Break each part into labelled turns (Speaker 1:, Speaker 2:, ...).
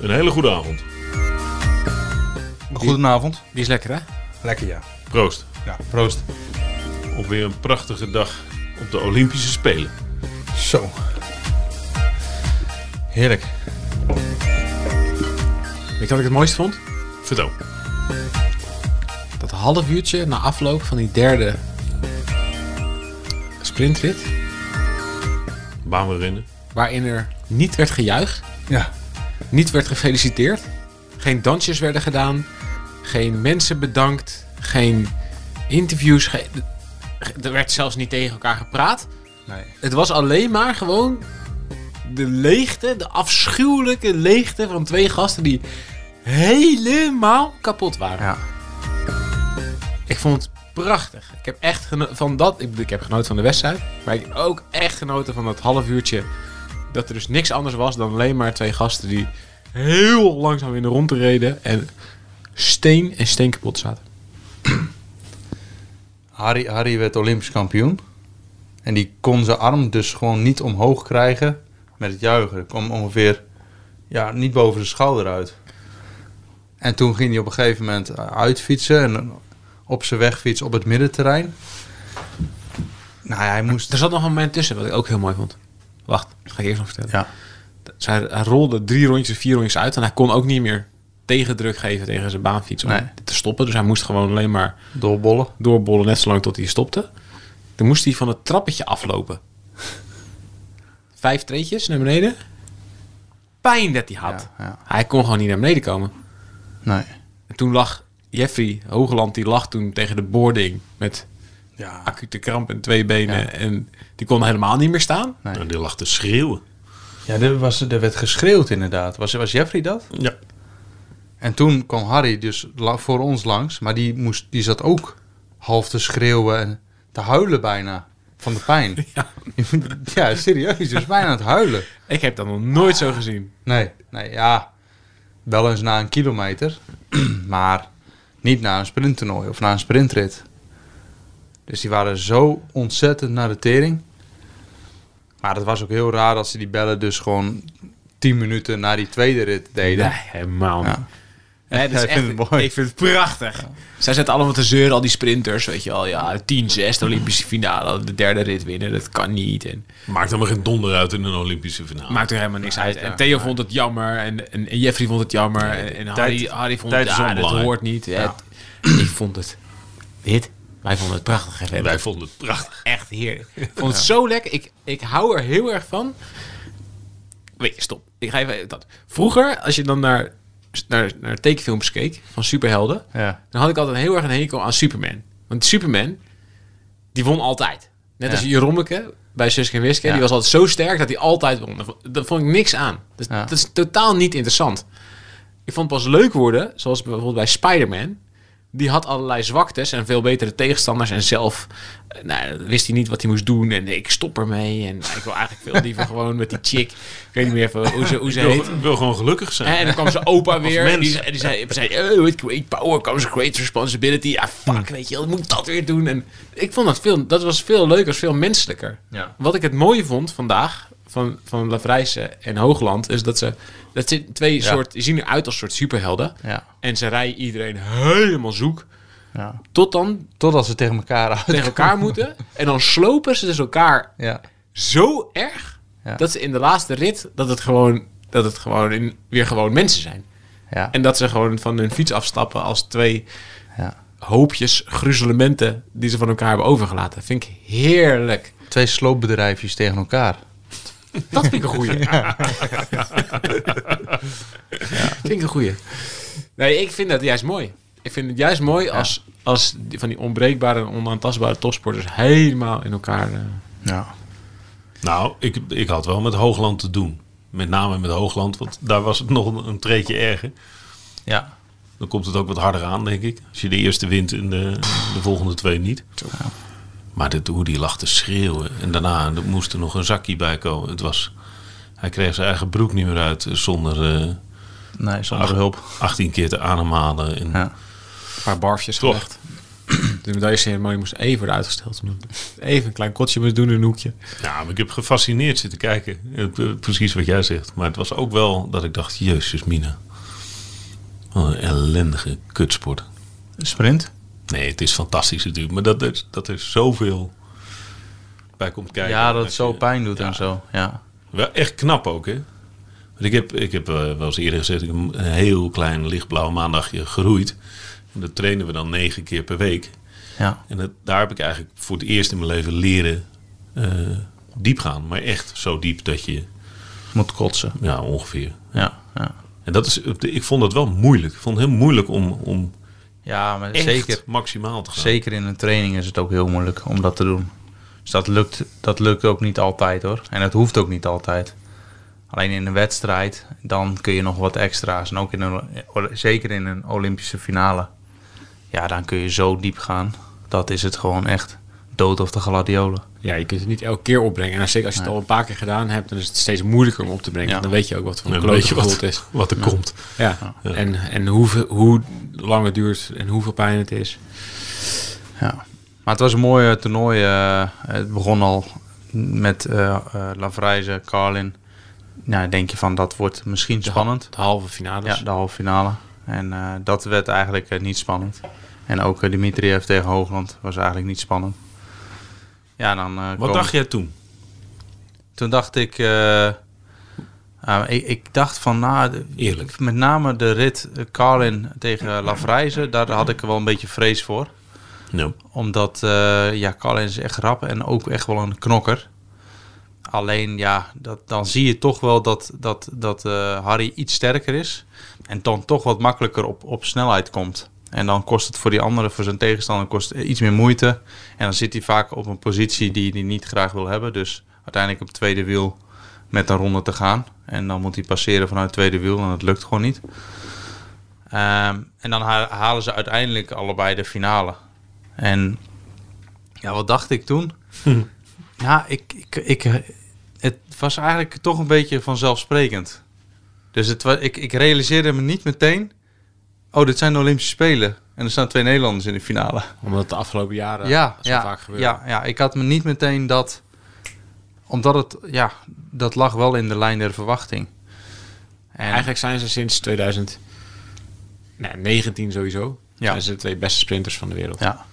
Speaker 1: Een hele goede avond.
Speaker 2: Goedenavond.
Speaker 3: Die is lekker, hè?
Speaker 2: Lekker ja.
Speaker 1: Proost.
Speaker 2: Ja, proost.
Speaker 1: Op weer een prachtige dag op de Olympische Spelen.
Speaker 2: Zo. Heerlijk.
Speaker 3: Weet je wat ik het mooiste vond?
Speaker 1: Vertel.
Speaker 3: Dat half uurtje na afloop van die derde sprintrit,
Speaker 1: Baan weer rennen.
Speaker 3: waarin er niet werd gejuicht,
Speaker 2: Ja.
Speaker 3: niet werd gefeliciteerd, geen dansjes werden gedaan, geen mensen bedankt, geen interviews, geen- er werd zelfs niet tegen elkaar gepraat.
Speaker 2: Nee.
Speaker 3: Het was alleen maar gewoon de leegte, de afschuwelijke leegte van twee gasten die helemaal kapot waren.
Speaker 2: Ja.
Speaker 3: Ik vond het prachtig. Ik heb echt geno- van dat. Ik, bedoel, ik heb genoten van de wedstrijd. Maar ik heb ook echt genoten van dat half uurtje. Dat er dus niks anders was dan alleen maar twee gasten die heel langzaam in de rondte reden. En steen en steen kapot zaten.
Speaker 2: Harry, Harry werd Olympisch kampioen. En die kon zijn arm dus gewoon niet omhoog krijgen met het juichen. Er kwam ongeveer ja, niet boven de schouder uit. En toen ging hij op een gegeven moment eh, uitfietsen. En op zijn weg fietsen op het middenterrein. Nou ja, hij moest...
Speaker 3: Er zat nog een moment tussen wat ik ook heel mooi vond. Wacht, dat ga ik eerst nog vertellen.
Speaker 2: Ja.
Speaker 3: Dus hij, hij rolde drie rondjes, vier rondjes uit. En hij kon ook niet meer tegendruk geven tegen zijn baanfiets om
Speaker 2: Nee.
Speaker 3: dit te stoppen. Dus hij moest gewoon alleen maar
Speaker 2: Doorbollen.
Speaker 3: doorbollen net zolang tot hij stopte. Toen moest hij van het trappetje aflopen. Vijf treetjes naar beneden. Pijn dat hij had.
Speaker 2: Ja, ja.
Speaker 3: Hij kon gewoon niet naar beneden komen.
Speaker 2: Nee.
Speaker 3: En toen lag Jeffrey Hoogland, die lag toen tegen de boarding met
Speaker 2: Ja.
Speaker 3: acute kramp en twee benen.
Speaker 2: Ja.
Speaker 3: En die kon helemaal niet meer staan.
Speaker 1: En
Speaker 2: Nee.
Speaker 1: Nou, die lag te schreeuwen.
Speaker 2: Ja, er, was, er werd geschreeuwd inderdaad. Was, was Jeffrey dat?
Speaker 1: Ja.
Speaker 2: En toen kwam Harry dus la- voor ons langs, maar die, moest, die zat ook half te schreeuwen en te huilen bijna van de pijn. Ja, serieus, die was bijna aan het huilen.
Speaker 3: Ik heb dat nog nooit zo gezien.
Speaker 2: Nee, nee, ja, wel eens na een kilometer, maar niet na een sprinttoernooi of na een sprintrit. Dus die waren zo ontzettend naar de tering. Maar het was ook heel raar dat ze die bellen dus gewoon 10 minuten na die tweede rit deden.
Speaker 3: Nee, helemaal niet.
Speaker 2: Ja.
Speaker 3: Nee, dat is
Speaker 2: Ja, ik
Speaker 3: echt,
Speaker 2: vind het mooi.
Speaker 3: Ik vind het prachtig. Zij zetten allemaal te zeuren, al die sprinters. Weet je wel, ja, 10-6, de Olympische finale, de derde rit winnen, dat kan niet. En
Speaker 1: Maakt helemaal geen donder uit in een Olympische finale.
Speaker 3: maakt er helemaal niks uit. En
Speaker 2: ja.
Speaker 3: Theo vond het jammer en, en, en Jeffrey vond het jammer. en en Harry,
Speaker 1: tijd-
Speaker 3: Harry vond
Speaker 1: tijd
Speaker 3: het,
Speaker 1: is
Speaker 3: ja, dat
Speaker 1: onbelangrijk.
Speaker 3: hoort niet. hè. Ik vond het, dit, wij vonden het prachtig. hè.
Speaker 1: En wij vonden het prachtig.
Speaker 3: Echt heerlijk. Ik vond het zo lekker. Ik, ik hou er heel erg van. Weet je, stop. Ik ga even dat. Vroeger, als je dan naar, naar, naar tekenfilms keek van superhelden,
Speaker 2: Ja.
Speaker 3: dan had ik altijd heel erg een hekel aan Superman. Want Superman, die won altijd. Net als
Speaker 2: Ja.
Speaker 3: Jerommeke bij Suske en Wiske.
Speaker 2: Ja.
Speaker 3: Die was altijd zo sterk dat hij altijd won. Daar vo- Daar vond ik niks aan. Dat,
Speaker 2: Ja.
Speaker 3: dat is totaal niet interessant. Ik vond het pas leuk worden, zoals bijvoorbeeld bij Spider-Man. Die had allerlei zwaktes en veel betere tegenstanders. En zelf eh, nou, wist hij niet wat hij moest doen. En ik stop ermee. En ik wil eigenlijk veel liever gewoon met die chick. Ik weet niet meer even hoe ze, hoe ze
Speaker 1: Ik wil,
Speaker 3: heet.
Speaker 1: ik wil gewoon gelukkig zijn.
Speaker 3: En dan kwam zijn opa weer. En
Speaker 1: mens.
Speaker 3: die zei, die zei, zei, oh, with great power comes great responsibility. Ja,
Speaker 2: Hmm.
Speaker 3: fuck, weet je wel, ik moet dat weer doen. En ik vond dat veel, dat was veel leuker, veel menselijker.
Speaker 2: Ja.
Speaker 3: Wat ik het mooie vond vandaag van, van Lavrijsen en Hoogland, is dat ze, dat ze twee
Speaker 2: Ja.
Speaker 3: soort, die zien eruit als soort superhelden.
Speaker 2: Ja.
Speaker 3: En ze rijden iedereen helemaal zoek.
Speaker 2: Ja.
Speaker 3: Tot dan
Speaker 2: Totdat ze tegen elkaar uit.
Speaker 3: tegen elkaar moeten. En dan slopen ze dus elkaar
Speaker 2: Ja.
Speaker 3: zo erg,
Speaker 2: Ja.
Speaker 3: dat ze in de laatste rit, dat het gewoon, dat het gewoon in, weer gewoon mensen zijn.
Speaker 2: Ja.
Speaker 3: En dat ze gewoon van hun fiets afstappen als twee
Speaker 2: ja.
Speaker 3: hoopjes gruzelementen die ze van elkaar hebben overgelaten. Vind ik heerlijk.
Speaker 2: Twee sloopbedrijfjes tegen elkaar.
Speaker 3: Dat vind ik een goeie. Vind ik een goeie. Nee, ik vind dat juist mooi. Ik vind het juist mooi als, als die, van die onbreekbare en onaantastbare topsporters helemaal in elkaar... eh,
Speaker 2: Ja.
Speaker 1: Nou, ik, ik had wel met Hoogland te doen. Met name met Hoogland, want daar was het nog een, een treetje erger.
Speaker 2: Ja.
Speaker 1: Dan komt het ook wat harder aan, denk ik. Als je de eerste wint en de, de volgende twee niet. Maar dit, hoe die lag te schreeuwen. En daarna er moest er nog een zakje bij komen. Het was, hij kreeg zijn eigen broek niet meer uit eh, zonder eh,
Speaker 2: Nee, zonder hulp.
Speaker 1: 18 keer te ademhalen. En,
Speaker 2: Ja.
Speaker 3: Een paar barfjes
Speaker 1: Toch.
Speaker 3: gelegd. De medailleceremonie moest even worden uitgesteld. omdat ik Even een klein kotje moest doen in een hoekje.
Speaker 1: Ja, maar ik heb gefascineerd zitten kijken. Eh, pre- Precies wat jij zegt. Maar het was ook wel dat ik dacht, jezus mina. Wat een ellendige kutsport.
Speaker 2: Sprint?
Speaker 1: Nee, het is fantastisch natuurlijk. Maar dat er, dat er zoveel bij komt kijken.
Speaker 2: Ja, dat het zo
Speaker 1: je-
Speaker 2: pijn doet
Speaker 1: Ja.
Speaker 2: en zo. Ja.
Speaker 1: Wel echt knap ook, hè? Want ik heb, ik heb eh, wel eens eerder gezegd, ik heb een heel klein lichtblauw maandagje geroeid. En dat trainen we dan negen keer per week.
Speaker 2: Ja.
Speaker 1: En dat, daar heb ik eigenlijk voor het eerst in mijn leven leren eh, diep gaan. Maar echt zo diep dat je,
Speaker 2: Moet kotsen.
Speaker 1: ja, ongeveer.
Speaker 2: Ja. Ja,
Speaker 1: En dat is, ik vond dat wel moeilijk. Ik vond het heel moeilijk om, om
Speaker 2: ja maar
Speaker 1: echt
Speaker 2: zeker.
Speaker 1: maximaal te gaan.
Speaker 2: Zeker in een training is het ook heel moeilijk om dat te doen. Dus dat lukt, dat lukt ook niet altijd hoor. En het hoeft ook niet altijd. Alleen in een wedstrijd, dan kun je nog wat extra's. En ook in een, zeker in een Olympische finale. Ja, dan kun je zo diep gaan. Dat is het gewoon echt dood of de gladiolen.
Speaker 3: Ja, je kunt het niet elke keer opbrengen. En zeker als je het al een paar keer gedaan hebt, dan is het steeds moeilijker om op te brengen.
Speaker 2: Ja.
Speaker 3: Dan weet je ook wat voor een
Speaker 1: Dan weet
Speaker 3: klote
Speaker 1: je
Speaker 3: gevoel
Speaker 1: wat,
Speaker 3: het is.
Speaker 1: wat er komt.
Speaker 3: Ja. En, en hoe, hoe lang het duurt en hoeveel pijn het is.
Speaker 2: Ja. Maar het was een mooi eh, toernooi. eh, het begon al met eh eh Lavrijze, Carlin. Nou, denk je van dat wordt misschien spannend.
Speaker 3: De halve finale.
Speaker 2: Ja, Dus de halve finale. En eh, dat werd eigenlijk eh, niet spannend. En ook eh, Dimitriev tegen Hoogland was eigenlijk niet spannend. Ja, dan. eh,
Speaker 1: Wat
Speaker 2: komen-
Speaker 1: dacht jij toen?
Speaker 2: Toen dacht ik, eh, eh, ik. Ik dacht van, nou, de-
Speaker 1: Eerlijk.
Speaker 2: met name de rit eh, Carlin tegen Lafrijze, daar had ik wel een beetje vrees voor
Speaker 1: Nou,
Speaker 2: omdat eh ja, Carlin is echt rap en ook echt wel een knokker. Alleen ja, dat, dan zie je toch wel dat, dat, dat eh, Harry iets sterker is. En dan toch wat makkelijker op, op snelheid komt. En dan kost het voor die andere, voor zijn tegenstander, kost het iets meer moeite. En dan zit hij vaak op een positie die hij niet graag wil hebben. Dus uiteindelijk op het tweede wiel met een ronde te gaan. En dan moet hij passeren vanuit het tweede wiel en dat lukt gewoon niet. Ehm, en dan ha- halen ze uiteindelijk allebei de finale. En ja, wat dacht ik toen? Ja, ik, ik, ik, eh, het was eigenlijk toch een beetje vanzelfsprekend. Dus het, wa- ik, ik realiseerde me niet meteen... Oh, dit zijn de Olympische Spelen. En er staan twee Nederlanders in de finale.
Speaker 3: Omdat het de afgelopen jaren
Speaker 2: Ja,
Speaker 3: zo
Speaker 2: ja,
Speaker 3: vaak gebeurt.
Speaker 2: ja, ja, ik had me niet meteen dat... Omdat het... Ja, dat lag wel in de lijn der verwachting. En,
Speaker 3: Eigenlijk zijn ze sinds 2019 sowieso.
Speaker 2: Ja.
Speaker 3: Zijn ze de twee beste sprinters van de wereld.
Speaker 2: Ja.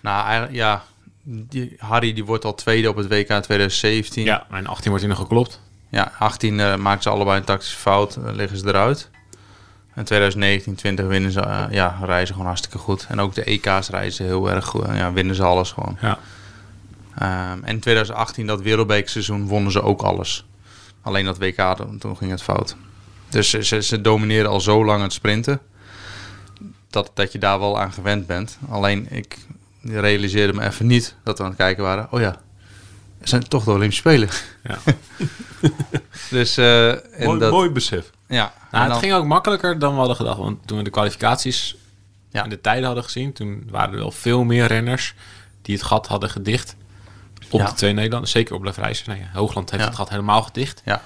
Speaker 2: Nou, eigenlijk, ja... Die, Harry die wordt al tweede op het WK 2017.
Speaker 3: Ja, mijn 18 wordt hier nog geklopt.
Speaker 2: Ja, 18 eh maken ze allebei een tactische fout, eh, liggen ze eruit. En 2019, 20 winnen ze, eh, ja, reizen gewoon hartstikke goed. En ook de EK's reizen heel erg goed. En Ja, winnen ze alles gewoon.
Speaker 3: Ja.
Speaker 2: Ehm, en 2018, dat wereldbeekseizoen, wonnen ze ook alles. Alleen dat WK, toen, toen ging het fout. Dus ze, ze, ze domineren al zo lang het sprinten, dat, dat je daar wel aan gewend bent. Alleen ik realiseerde me even niet dat we aan het kijken waren. Oh ja, het zijn toch de Olympische Spelen.
Speaker 3: Ja.
Speaker 2: dus, eh, en
Speaker 1: mooi,
Speaker 2: dat,
Speaker 1: mooi besef.
Speaker 2: Ja, en
Speaker 3: Nou, het
Speaker 2: dan-
Speaker 3: ging ook makkelijker dan we hadden gedacht. Want toen we de kwalificaties
Speaker 2: Ja.
Speaker 3: en de tijden hadden gezien, toen waren er wel veel meer renners die het gat hadden gedicht. Op
Speaker 2: Ja.
Speaker 3: de twee Nederlanders, zeker op Lefrijs. Nou ja, Hoogland heeft
Speaker 2: Ja.
Speaker 3: het gat helemaal gedicht.
Speaker 2: Ja,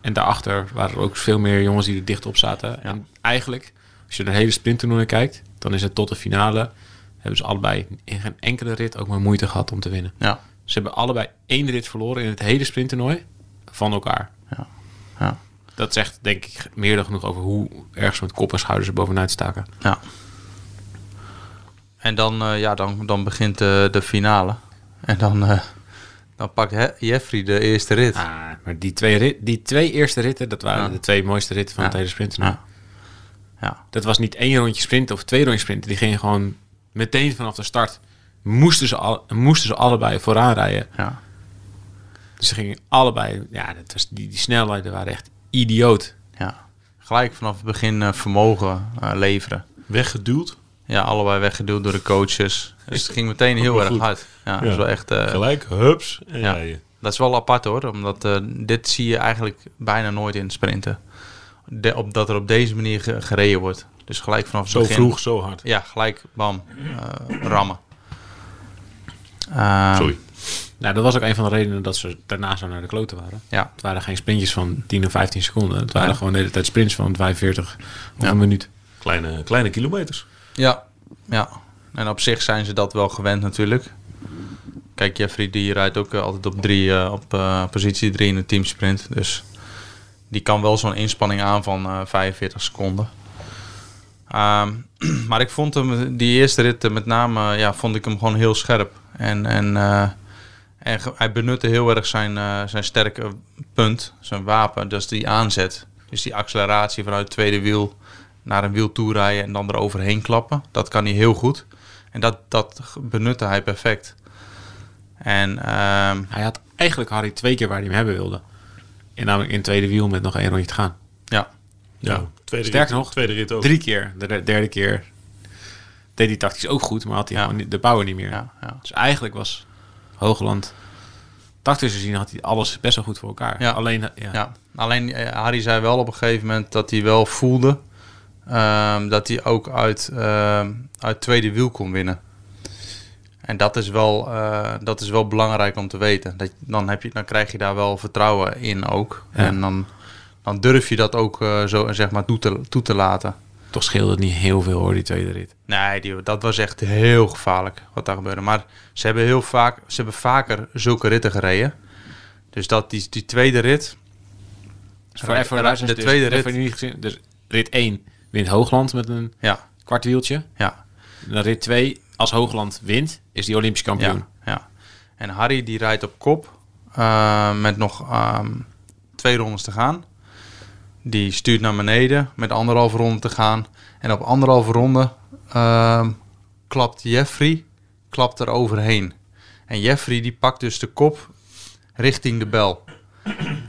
Speaker 3: En daarachter waren er ook veel meer jongens die er dicht op zaten. En eigenlijk, als je naar de hele sprinttoernooi kijkt, dan is het tot de finale. Hebben ze allebei in geen enkele rit ook maar moeite gehad om te winnen.
Speaker 2: ja,
Speaker 3: Ze hebben allebei één rit verloren in het hele sprinttoernooi van elkaar.
Speaker 2: ja, ja,
Speaker 3: Dat zegt denk ik meer dan genoeg over hoe erg ze met kop en schouders er bovenuit staken.
Speaker 2: ja. En dan, eh, ja, dan, dan begint eh, de finale. En dan, eh, dan pakt He- Jeffrey de eerste rit.
Speaker 3: Ah, maar die twee, rit, die twee eerste ritten, dat waren
Speaker 2: Ja.
Speaker 3: de twee mooiste ritten van
Speaker 2: Ja.
Speaker 3: het hele sprinttoernooi.
Speaker 2: Ja. Ja.
Speaker 3: Dat was niet één rondje sprinten of twee rondjes sprinten. Die gingen gewoon meteen vanaf de start. Moesten ze, al, moesten ze allebei vooraan rijden.
Speaker 2: Ja,
Speaker 3: Dus ze gingen allebei. Ja, dat was, die, die snelheden waren echt idioot.
Speaker 2: ja. Gelijk vanaf het begin eh, vermogen eh, leveren.
Speaker 1: Weggeduwd.
Speaker 2: Ja, allebei weggeduwd door de coaches. Dus het ging meteen heel
Speaker 1: Goed.
Speaker 2: erg hard. Ja, dat
Speaker 1: Ja.
Speaker 2: is wel echt... eh,
Speaker 1: Gelijk, hups. En
Speaker 2: Ja.
Speaker 1: rijden.
Speaker 2: Dat is wel apart hoor, omdat eh, dit zie je eigenlijk bijna nooit in sprinten. De, op, dat er op deze manier ge- gereden wordt. Dus gelijk vanaf het
Speaker 1: Zo
Speaker 2: begin.
Speaker 1: vroeg, zo hard.
Speaker 2: Ja, gelijk, bam, eh, rammen. Eh,
Speaker 1: Sorry.
Speaker 3: Nou, dat was ook een van de redenen dat ze daarna zo naar de kloten waren.
Speaker 2: Ehm, Ja,
Speaker 3: Het waren geen sprintjes van 10 of 15 seconden. Het waren gewoon de hele tijd sprints van 45 of een minuut.
Speaker 1: Kleine, kleine kilometers.
Speaker 2: ja, ja. En op zich zijn ze dat wel gewend natuurlijk. Kijk, Jeffrey die rijdt ook eh, altijd op, drie, eh, op eh, positie 3 in de teamsprint. Dus die kan wel zo'n inspanning aan van eh, 45 seconden. Ehm, maar ik vond hem, die eerste rit eh, met name, eh, ja, vond ik hem gewoon heel scherp. En, en, eh, en ge- hij benutte heel erg zijn, eh, zijn sterke punt, zijn wapen, dat is die aanzet. Dus die acceleratie vanuit het tweede wiel naar een wiel toe rijden en dan eroverheen klappen. Dat kan hij heel goed. En dat, dat ge- benutte hij perfect. En ehm,
Speaker 3: Hij had eigenlijk Harry twee keer waar hij hem hebben wilde. En namelijk in het tweede wiel met nog één rondje te gaan.
Speaker 2: ja,
Speaker 1: Ja, tweede
Speaker 3: Sterker
Speaker 1: rit,
Speaker 3: nog,
Speaker 1: tweede rit ook.
Speaker 3: Drie keer. De de- derde keer deed hij tactisch ook goed, maar had hij
Speaker 2: Ja.
Speaker 3: gewoon niet- de power niet meer.
Speaker 2: ja, ja.
Speaker 3: Dus eigenlijk was Hoogland, tactisch gezien, had hij alles best wel goed voor elkaar.
Speaker 2: Ja.
Speaker 3: Alleen, ja.
Speaker 2: Ja, alleen eh, Harry zei wel op een gegeven moment dat hij wel voelde ehm, dat hij ook uit, ehm, uit tweede wiel kon winnen. En dat is wel, eh, dat is wel belangrijk om te weten. Dat, dan, heb je, dan krijg je daar wel vertrouwen in ook.
Speaker 3: Ja.
Speaker 2: En dan, dan durf je dat ook eh, zo zeg maar toe te, toe te laten.
Speaker 3: toch scheelde het niet heel veel hoor, die tweede rit.
Speaker 2: Nee, die, dat was echt heel gevaarlijk wat daar gebeurde. Maar ze hebben heel vaak, ze hebben vaker zulke ritten gereden. Dus dat die, die tweede rit.
Speaker 3: Voor even voor de
Speaker 2: de
Speaker 3: luisteraars, dus
Speaker 2: tweede
Speaker 3: even
Speaker 2: rit.
Speaker 3: niet gezien. Dus rit 1 wint Hoogland met een
Speaker 2: Ja,
Speaker 3: kwart wieltje.
Speaker 2: ja,
Speaker 3: En dan rit 2, als Hoogland wint, is die Olympisch kampioen.
Speaker 2: ja, ja. En Harry die rijdt op kop eh, met nog ehm, twee rondes te gaan. Die stuurt naar beneden met anderhalve ronde te gaan. En op anderhalve ronde ehm, klapt Jeffrey klapt er overheen. En Jeffrey die pakt dus de kop richting de bel.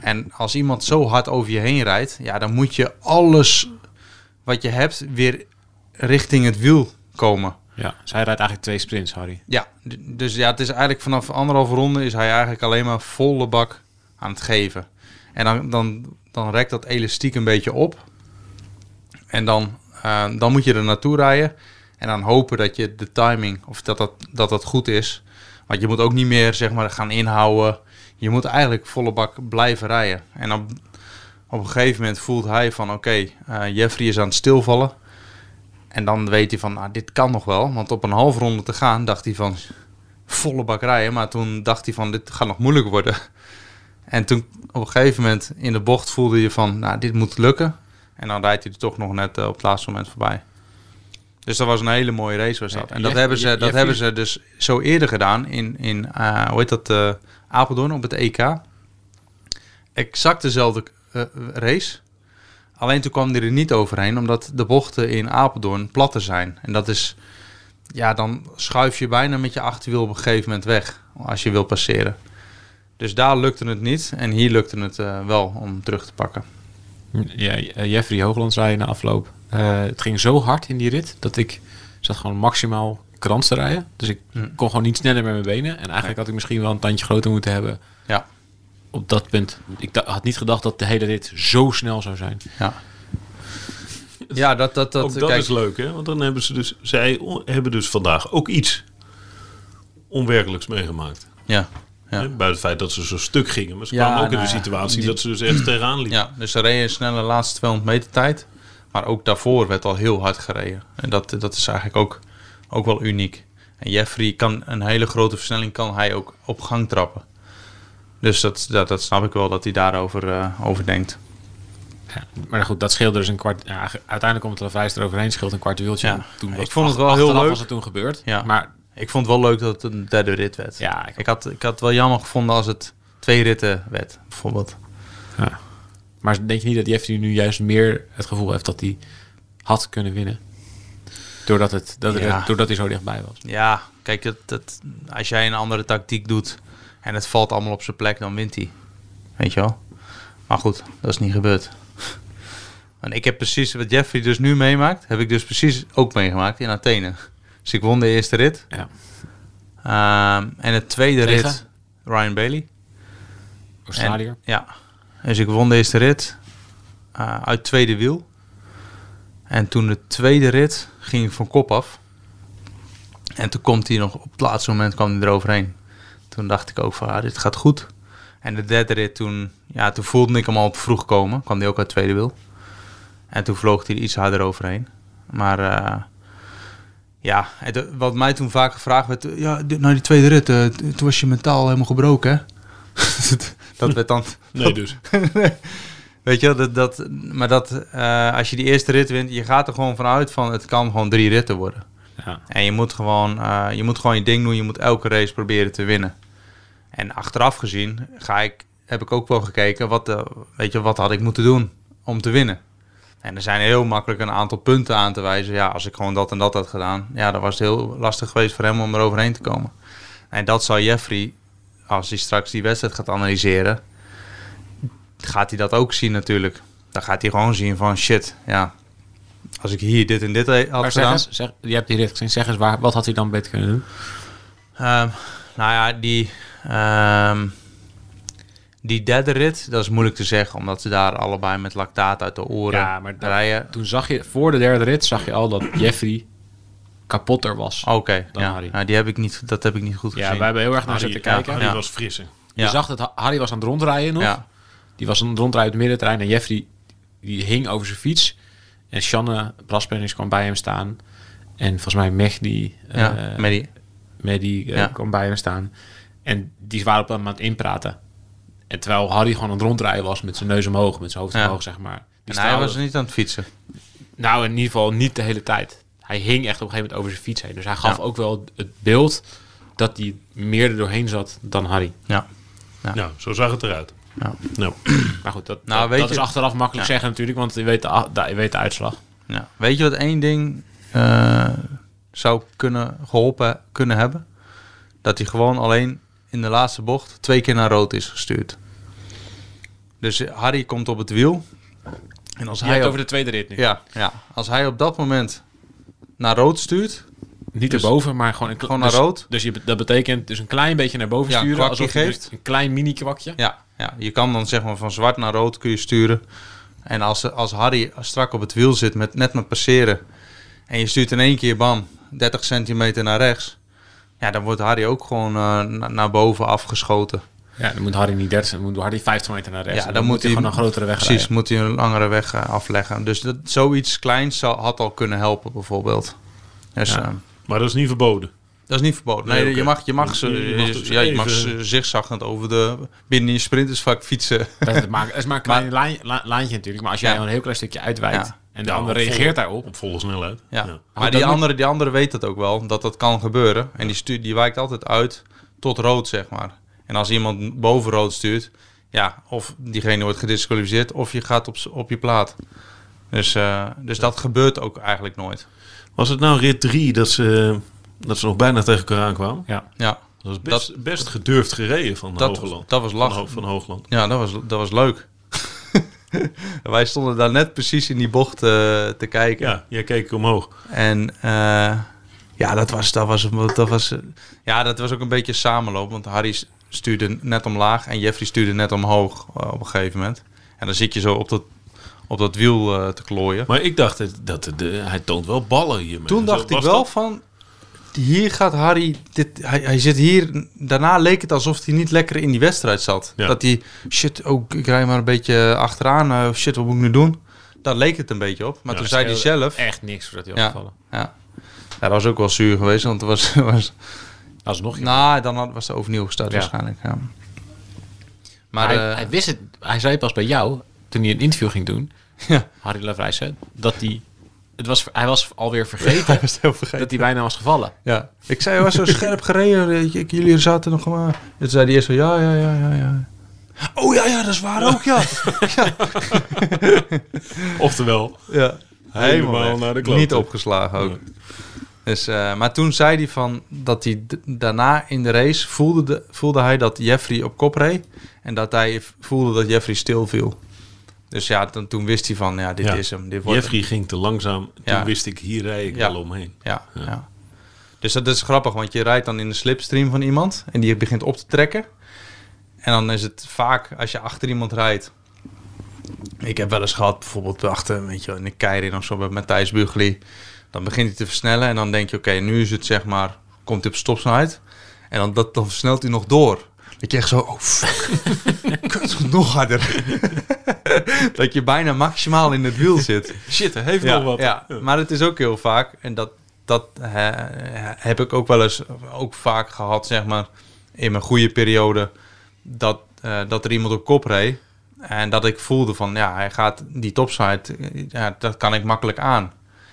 Speaker 2: En als iemand zo hard over je heen rijdt, ja, dan moet je alles wat je hebt weer richting het wiel komen.
Speaker 3: Ja. Zij Dus rijdt eigenlijk twee sprints, Harry.
Speaker 2: Ja, d- dus ja, het is eigenlijk vanaf anderhalve ronde is hij eigenlijk alleen maar volle bak aan het geven. En dan, dan, dan rekt dat elastiek een beetje op. En dan, eh, dan moet je er naartoe rijden. En dan hopen dat je de timing, of dat dat, dat, dat goed is. Want je moet ook niet meer zeg maar, gaan inhouden. Je moet eigenlijk volle bak blijven rijden. En op, op een gegeven moment voelt hij van oké, eh, Jeffrey is aan het stilvallen. En dan weet hij van, nou, dit kan nog wel. Want op een half ronde te gaan dacht hij van, volle bak rijden. Maar toen dacht hij van, dit gaat nog moeilijk worden. En toen op een gegeven moment in de bocht voelde je van, nou, dit moet lukken. En dan rijdt hij er toch nog net eh, op het laatste moment voorbij. Dus dat was een hele mooie race was dat.
Speaker 3: Nee,
Speaker 2: En dat,
Speaker 3: Jeff-
Speaker 2: hebben, ze,
Speaker 3: Jeff-
Speaker 2: dat hebben ze dus zo eerder gedaan in, in eh, hoe heet dat, eh, Apeldoorn op het EK. Exact dezelfde eh, race. Alleen toen kwam hij er niet overheen, omdat de bochten in Apeldoorn platter zijn. En dat is, ja, dan schuif je bijna met je achterwiel op een gegeven moment weg als je wil passeren. Dus daar lukte het niet en hier lukte het eh, wel om terug te pakken.
Speaker 3: Ja, eh, Jeffrey Hoogland zei na afloop. eh, het ging zo hard in die rit dat ik zat gewoon maximaal krans te rijden. Dus ik
Speaker 2: Hm.
Speaker 3: kon gewoon niet sneller met mijn benen. En eigenlijk had ik misschien wel een tandje groter moeten hebben
Speaker 2: Ja,
Speaker 3: op dat punt. Ik da- had niet gedacht dat de hele rit zo snel zou zijn.
Speaker 2: ja. Ja, dat, dat, dat,
Speaker 1: ook dat
Speaker 2: kijk,
Speaker 1: is leuk, hè? Want dan hebben ze dus, zij o- hebben dus vandaag ook iets onwerkelijks meegemaakt.
Speaker 2: Ja, ja.
Speaker 1: Hè? Buiten het feit dat ze zo stuk gingen. Maar ze
Speaker 2: Ja,
Speaker 1: kwamen ook in
Speaker 2: nou
Speaker 1: de
Speaker 2: ja,
Speaker 1: situatie
Speaker 2: die-
Speaker 1: dat ze dus echt tegenaan liepen.
Speaker 2: Ja, dus ze reden een snelle laatste 200 meter tijd. Maar ook daarvoor werd al heel hard gereden. En dat, dat is eigenlijk ook, ook wel uniek. En Jeffrey kan een hele grote versnelling kan hij ook op gang trappen. Dus dat, dat, dat snap ik wel dat hij daarover eh, over denkt.
Speaker 3: Ja, maar goed, dat scheelde dus een kwart. Ja, ge- uiteindelijk komt het er vijf eroverheen, scheelt een kwart wieltje.
Speaker 2: Ja.
Speaker 3: En Toen was
Speaker 2: Ik vond het wel
Speaker 3: achteraf
Speaker 2: heel leuk.
Speaker 3: was het toen gebeurd.
Speaker 2: Ja.
Speaker 3: Maar
Speaker 2: Ik vond het wel leuk dat het een derde rit werd.
Speaker 3: ja, ik-
Speaker 2: Ik had, ik had het wel jammer gevonden als het twee ritten werd, bijvoorbeeld.
Speaker 3: maar denk je niet dat Jeffrey nu juist meer het gevoel heeft dat hij had kunnen winnen? Doordat, het, dat het-
Speaker 2: Ja.
Speaker 3: doordat hij zo dichtbij was.
Speaker 2: Ja, kijk, dat, dat, als jij een andere tactiek doet en het valt allemaal op zijn plek, dan wint hij. Weet je wel? Maar goed, dat is niet gebeurd. En ik heb precies wat Jeffrey dus nu meemaakt, heb ik dus precies ook meegemaakt in Athene. Dus ik won de eerste rit.
Speaker 3: Ja.
Speaker 2: Ehm, en het tweede
Speaker 3: Tegen?
Speaker 2: rit, Ryan Bailey.
Speaker 3: Australiër.
Speaker 2: En- ja. Dus ik won de eerste rit eh, uit tweede wiel. En toen de tweede rit ging ik van kop af. En toen komt hij nog op het laatste moment kwam hij eroverheen. Toen dacht ik ook van ah, dit gaat goed. En de derde rit toen, ja, toen voelde ik hem al vroeg komen. Kwam hij ook uit tweede wiel. En toen vloog hij er iets harder overheen. Maar eh, ja, het, wat mij toen vaak gevraagd werd, ja, dit- nou die tweede rit, eh, t- toen was je mentaal helemaal gebroken, hè? dat werd dan
Speaker 1: Nee, dus.
Speaker 2: Weet je, wel, dat, dat, maar dat, eh, als je die eerste rit wint, je gaat er gewoon vanuit van het kan gewoon drie ritten worden.
Speaker 1: Ja.
Speaker 2: En je moet, gewoon, eh, je moet gewoon je ding doen, je moet elke race proberen te winnen. En achteraf gezien ga ik, heb ik ook wel gekeken, wat, eh, weet je, wat had ik moeten doen om te winnen? En er zijn heel makkelijk een aantal punten aan te wijzen. Ja, als ik gewoon dat en dat had gedaan, ja, dan was het heel lastig geweest voor hem om er overheen te komen. En dat zal Jeffrey, als hij straks die wedstrijd gaat analyseren, gaat hij dat ook zien natuurlijk. Dan gaat hij gewoon zien van shit, ja. Als ik hier dit en dit he- had
Speaker 3: Maar zeg
Speaker 2: gedaan.
Speaker 3: eens, zeg, je hebt die rit gezien. Zeg eens, waar, wat had hij dan beter kunnen doen?
Speaker 2: Ehm, nou ja, die, ehm, die derde rit, dat is moeilijk te zeggen. Omdat ze daar allebei met lactaat uit de oren
Speaker 3: Ja, maar dat-
Speaker 2: rijden.
Speaker 3: Toen zag je, voor de derde rit, zag je al dat Jeffrey kapotter was.
Speaker 2: Oké,
Speaker 3: Dan
Speaker 2: ja.
Speaker 3: Harry.
Speaker 2: Ja, die heb ik niet, dat heb ik niet goed gezien.
Speaker 3: ja, wij hebben heel erg naar zitten kijken.
Speaker 1: Harry
Speaker 2: Ja.
Speaker 1: was frisser.
Speaker 3: Je
Speaker 2: Ja.
Speaker 3: zag dat Ha- Harry was aan het rondrijden nog.
Speaker 2: Ja.
Speaker 3: Die was aan het rondrijden op het middenterrein. En Jeffrey die hing over zijn fiets. En Shanne Braspennings kwam bij hem staan. En volgens mij Mehdi, eh
Speaker 2: ja, met die,
Speaker 3: Mehdi eh,
Speaker 2: Ja.
Speaker 3: kwam bij hem staan. En die waren op hem aan het inpraten. En terwijl Harry gewoon aan het rondrijden was met zijn neus omhoog, met zijn hoofd
Speaker 2: Ja.
Speaker 3: omhoog, zeg maar. Die
Speaker 2: en hij
Speaker 3: straalde-
Speaker 2: was niet aan het fietsen.
Speaker 3: Nou, in ieder geval niet de hele tijd. Hij hing echt op een gegeven moment over zijn fiets heen. Dus hij gaf
Speaker 2: Ja.
Speaker 3: ook wel het beeld dat hij meer er doorheen zat dan Harry.
Speaker 2: Ja.
Speaker 1: Nou, zo zag het eruit.
Speaker 2: Ja.
Speaker 1: Nou,
Speaker 3: Maar goed, dat,
Speaker 2: Nou,
Speaker 3: dat,
Speaker 2: weet
Speaker 3: dat
Speaker 2: je-
Speaker 3: is achteraf makkelijk zeggen natuurlijk, want je weet de, a- da- je weet de uitslag.
Speaker 2: Ja. Weet je wat één ding eh, zou kunnen geholpen kunnen hebben? Dat hij gewoon alleen in de laatste bocht twee keer naar rood is gestuurd. Dus Harry komt op het wiel. En als
Speaker 3: Je
Speaker 2: hij,
Speaker 3: hebt het
Speaker 2: op,
Speaker 3: over de tweede rit nu.
Speaker 2: ja, ja, als hij op dat moment naar rood stuurt,
Speaker 3: Niet erboven, maar gewoon... Een kle-
Speaker 2: Gewoon naar
Speaker 3: dus-
Speaker 2: rood.
Speaker 3: Dus je, dat betekent dus een klein beetje naar boven
Speaker 2: Ja, een
Speaker 3: sturen.
Speaker 2: kwakje
Speaker 3: Alsof je
Speaker 2: geeft.
Speaker 3: dus een klein mini-kwakje.
Speaker 2: Ja, ja, je kan dan zeg maar van zwart naar rood kun je sturen. En als, als Harry strak op het wiel zit, met, net met passeren... en je stuurt in één keer, bam, 30 centimeter naar rechts... ja, dan wordt Harry ook gewoon eh, na- naar boven afgeschoten.
Speaker 3: Ja, dan moet Harry niet 30, dan moet Harry 50 meter naar rechts.
Speaker 2: Ja,
Speaker 3: En
Speaker 2: dan moet hij-
Speaker 3: gewoon een grotere weg
Speaker 2: Precies,
Speaker 3: rijden.
Speaker 2: moet hij een langere weg eh, afleggen. Dus dat, zoiets kleins zou, had al kunnen helpen, bijvoorbeeld. Dus, eh,
Speaker 1: maar dat is niet verboden.
Speaker 2: dat is niet verboden. Nee,
Speaker 1: Nee, oké.
Speaker 2: je mag, je mag, ze-
Speaker 1: Je mag dus
Speaker 2: ja, je mag
Speaker 1: even-
Speaker 2: ze zigzaggend over de, binnen je sprintersvak fietsen.
Speaker 3: Dat is maar, dat is maar een klein lijn- la- laantje natuurlijk. Maar als jij
Speaker 2: Ja.
Speaker 3: gewoon een heel klein stukje uitwijkt
Speaker 2: Ja.
Speaker 3: en de
Speaker 1: Ja,
Speaker 3: ander
Speaker 1: op
Speaker 3: reageert
Speaker 1: volle-
Speaker 3: daarop...
Speaker 1: Op volle snelheid.
Speaker 2: Ja.
Speaker 3: dat
Speaker 2: Maar die
Speaker 3: moet-
Speaker 2: andere, die andere weet dat ook wel, dat dat kan gebeuren. En die, stuurt, die wijkt altijd uit tot rood, zeg maar. En als iemand boven rood stuurt, ja, of diegene wordt gedisqualificeerd, of je gaat op, z'n- op je plaat. Dus, eh, dus dat gebeurt ook eigenlijk nooit.
Speaker 1: Was het nou rit 3 dat ze, dat ze nog bijna tegen elkaar aankwamen?
Speaker 3: Ja.
Speaker 2: Ja,
Speaker 1: Dat was best, best gedurfd gereden van
Speaker 2: dat, was-
Speaker 1: Hoogland.
Speaker 2: dat was
Speaker 1: van,
Speaker 2: lach.
Speaker 1: Ho- van Hoogland.
Speaker 2: Ja, dat was, dat was leuk. Wij stonden daar net precies in die bocht eh, te kijken.
Speaker 1: Ja, jij keek omhoog.
Speaker 2: En eh, ja, dat was, dat, was, dat, was, ja, dat was ook een beetje samenloop. Want Harry s- stuurde net omlaag en Jeffrey stuurde net omhoog eh, op een gegeven moment. En dan zit je zo op dat, op dat wiel eh, te klooien.
Speaker 1: Maar ik dacht dat, dat de, hij toont wel ballen hiermee.
Speaker 2: Toen
Speaker 1: Zo
Speaker 2: dacht ik
Speaker 1: was
Speaker 2: wel
Speaker 1: dat.
Speaker 2: van, hier gaat Harry, dit, hij, hij zit hier. Daarna leek het alsof hij niet lekker in die wedstrijd zat.
Speaker 1: Ja.
Speaker 2: Dat hij, shit, ook ik rij maar een beetje achteraan. eh, shit, wat moet ik nu doen? Daar leek het een beetje op. Maar
Speaker 1: Ja,
Speaker 2: toen
Speaker 1: dat
Speaker 2: zei hij zelf...
Speaker 3: Echt niks voordat hij
Speaker 2: Ja.
Speaker 3: afgevallen.
Speaker 2: Ja. ja, dat was ook wel zuur geweest, want het was, was,
Speaker 3: Alsnog, ja.
Speaker 2: Nou, dan had- was ze overnieuw gestart
Speaker 3: Ja.
Speaker 2: waarschijnlijk. Ja. Maar
Speaker 3: hij,
Speaker 2: eh,
Speaker 3: hij wist het. Hij zei pas bij jou, toen hij een interview ging doen,
Speaker 2: Ja.
Speaker 3: Harry Lavrijs, hè, dat hij... Het was, hij was alweer vergeten
Speaker 2: was het heel vergeten.
Speaker 3: dat hij bijna was gevallen.
Speaker 2: Ja. Ik zei, hij was zo scherp gereden. weet je, ik- Jullie zaten nog maar... Toen zei hij eerst zo, ja, ja, ja, ja, ja. Oh ja, ja, dat is waar ook, ja.
Speaker 1: Oftewel,
Speaker 2: ja.
Speaker 1: Helemaal
Speaker 2: weg.
Speaker 1: naar de klote.
Speaker 2: Niet opgeslagen ook. Dus, eh, maar toen zei hij van dat hij d- daarna in de race voelde, de, voelde hij dat Jeffrey op kop reed. En dat hij v- voelde dat Jeffrey stilviel. Dus ja, toen, toen wist hij van, ja, dit
Speaker 1: Ja.
Speaker 2: is hem. Dit wordt hem.
Speaker 1: Jeffrey ging te langzaam. Toen
Speaker 2: Ja.
Speaker 1: wist ik, hier rij ik
Speaker 2: Ja.
Speaker 1: wel omheen.
Speaker 2: Ja, ja. Dus dat is grappig, want je rijdt dan in de slipstream van iemand en die begint op te trekken. En dan is het vaak als je achter iemand rijdt. Ik heb wel eens gehad, bijvoorbeeld achter weet je, wel, in de Keirin of zo bij Matthijs Bugli. Dan begint hij te versnellen en dan denk je, oké, nu is het zeg maar, komt hij op stopsnelheid. En dan, dat, dan versnelt hij nog door. Dat je echt zo, oh fuck, kut, nog harder. dat je bijna maximaal in het wiel zit.
Speaker 1: Shit, hij heeft nog wat.
Speaker 2: Ja, maar het is ook heel vaak, en dat, dat hè, heb ik ook wel eens ook vaak gehad, zeg maar, in mijn goede periode, dat, eh, dat er iemand op kop reed. En dat ik voelde van, ja, hij gaat die topside, eh, ja, dat kan ik makkelijk aan.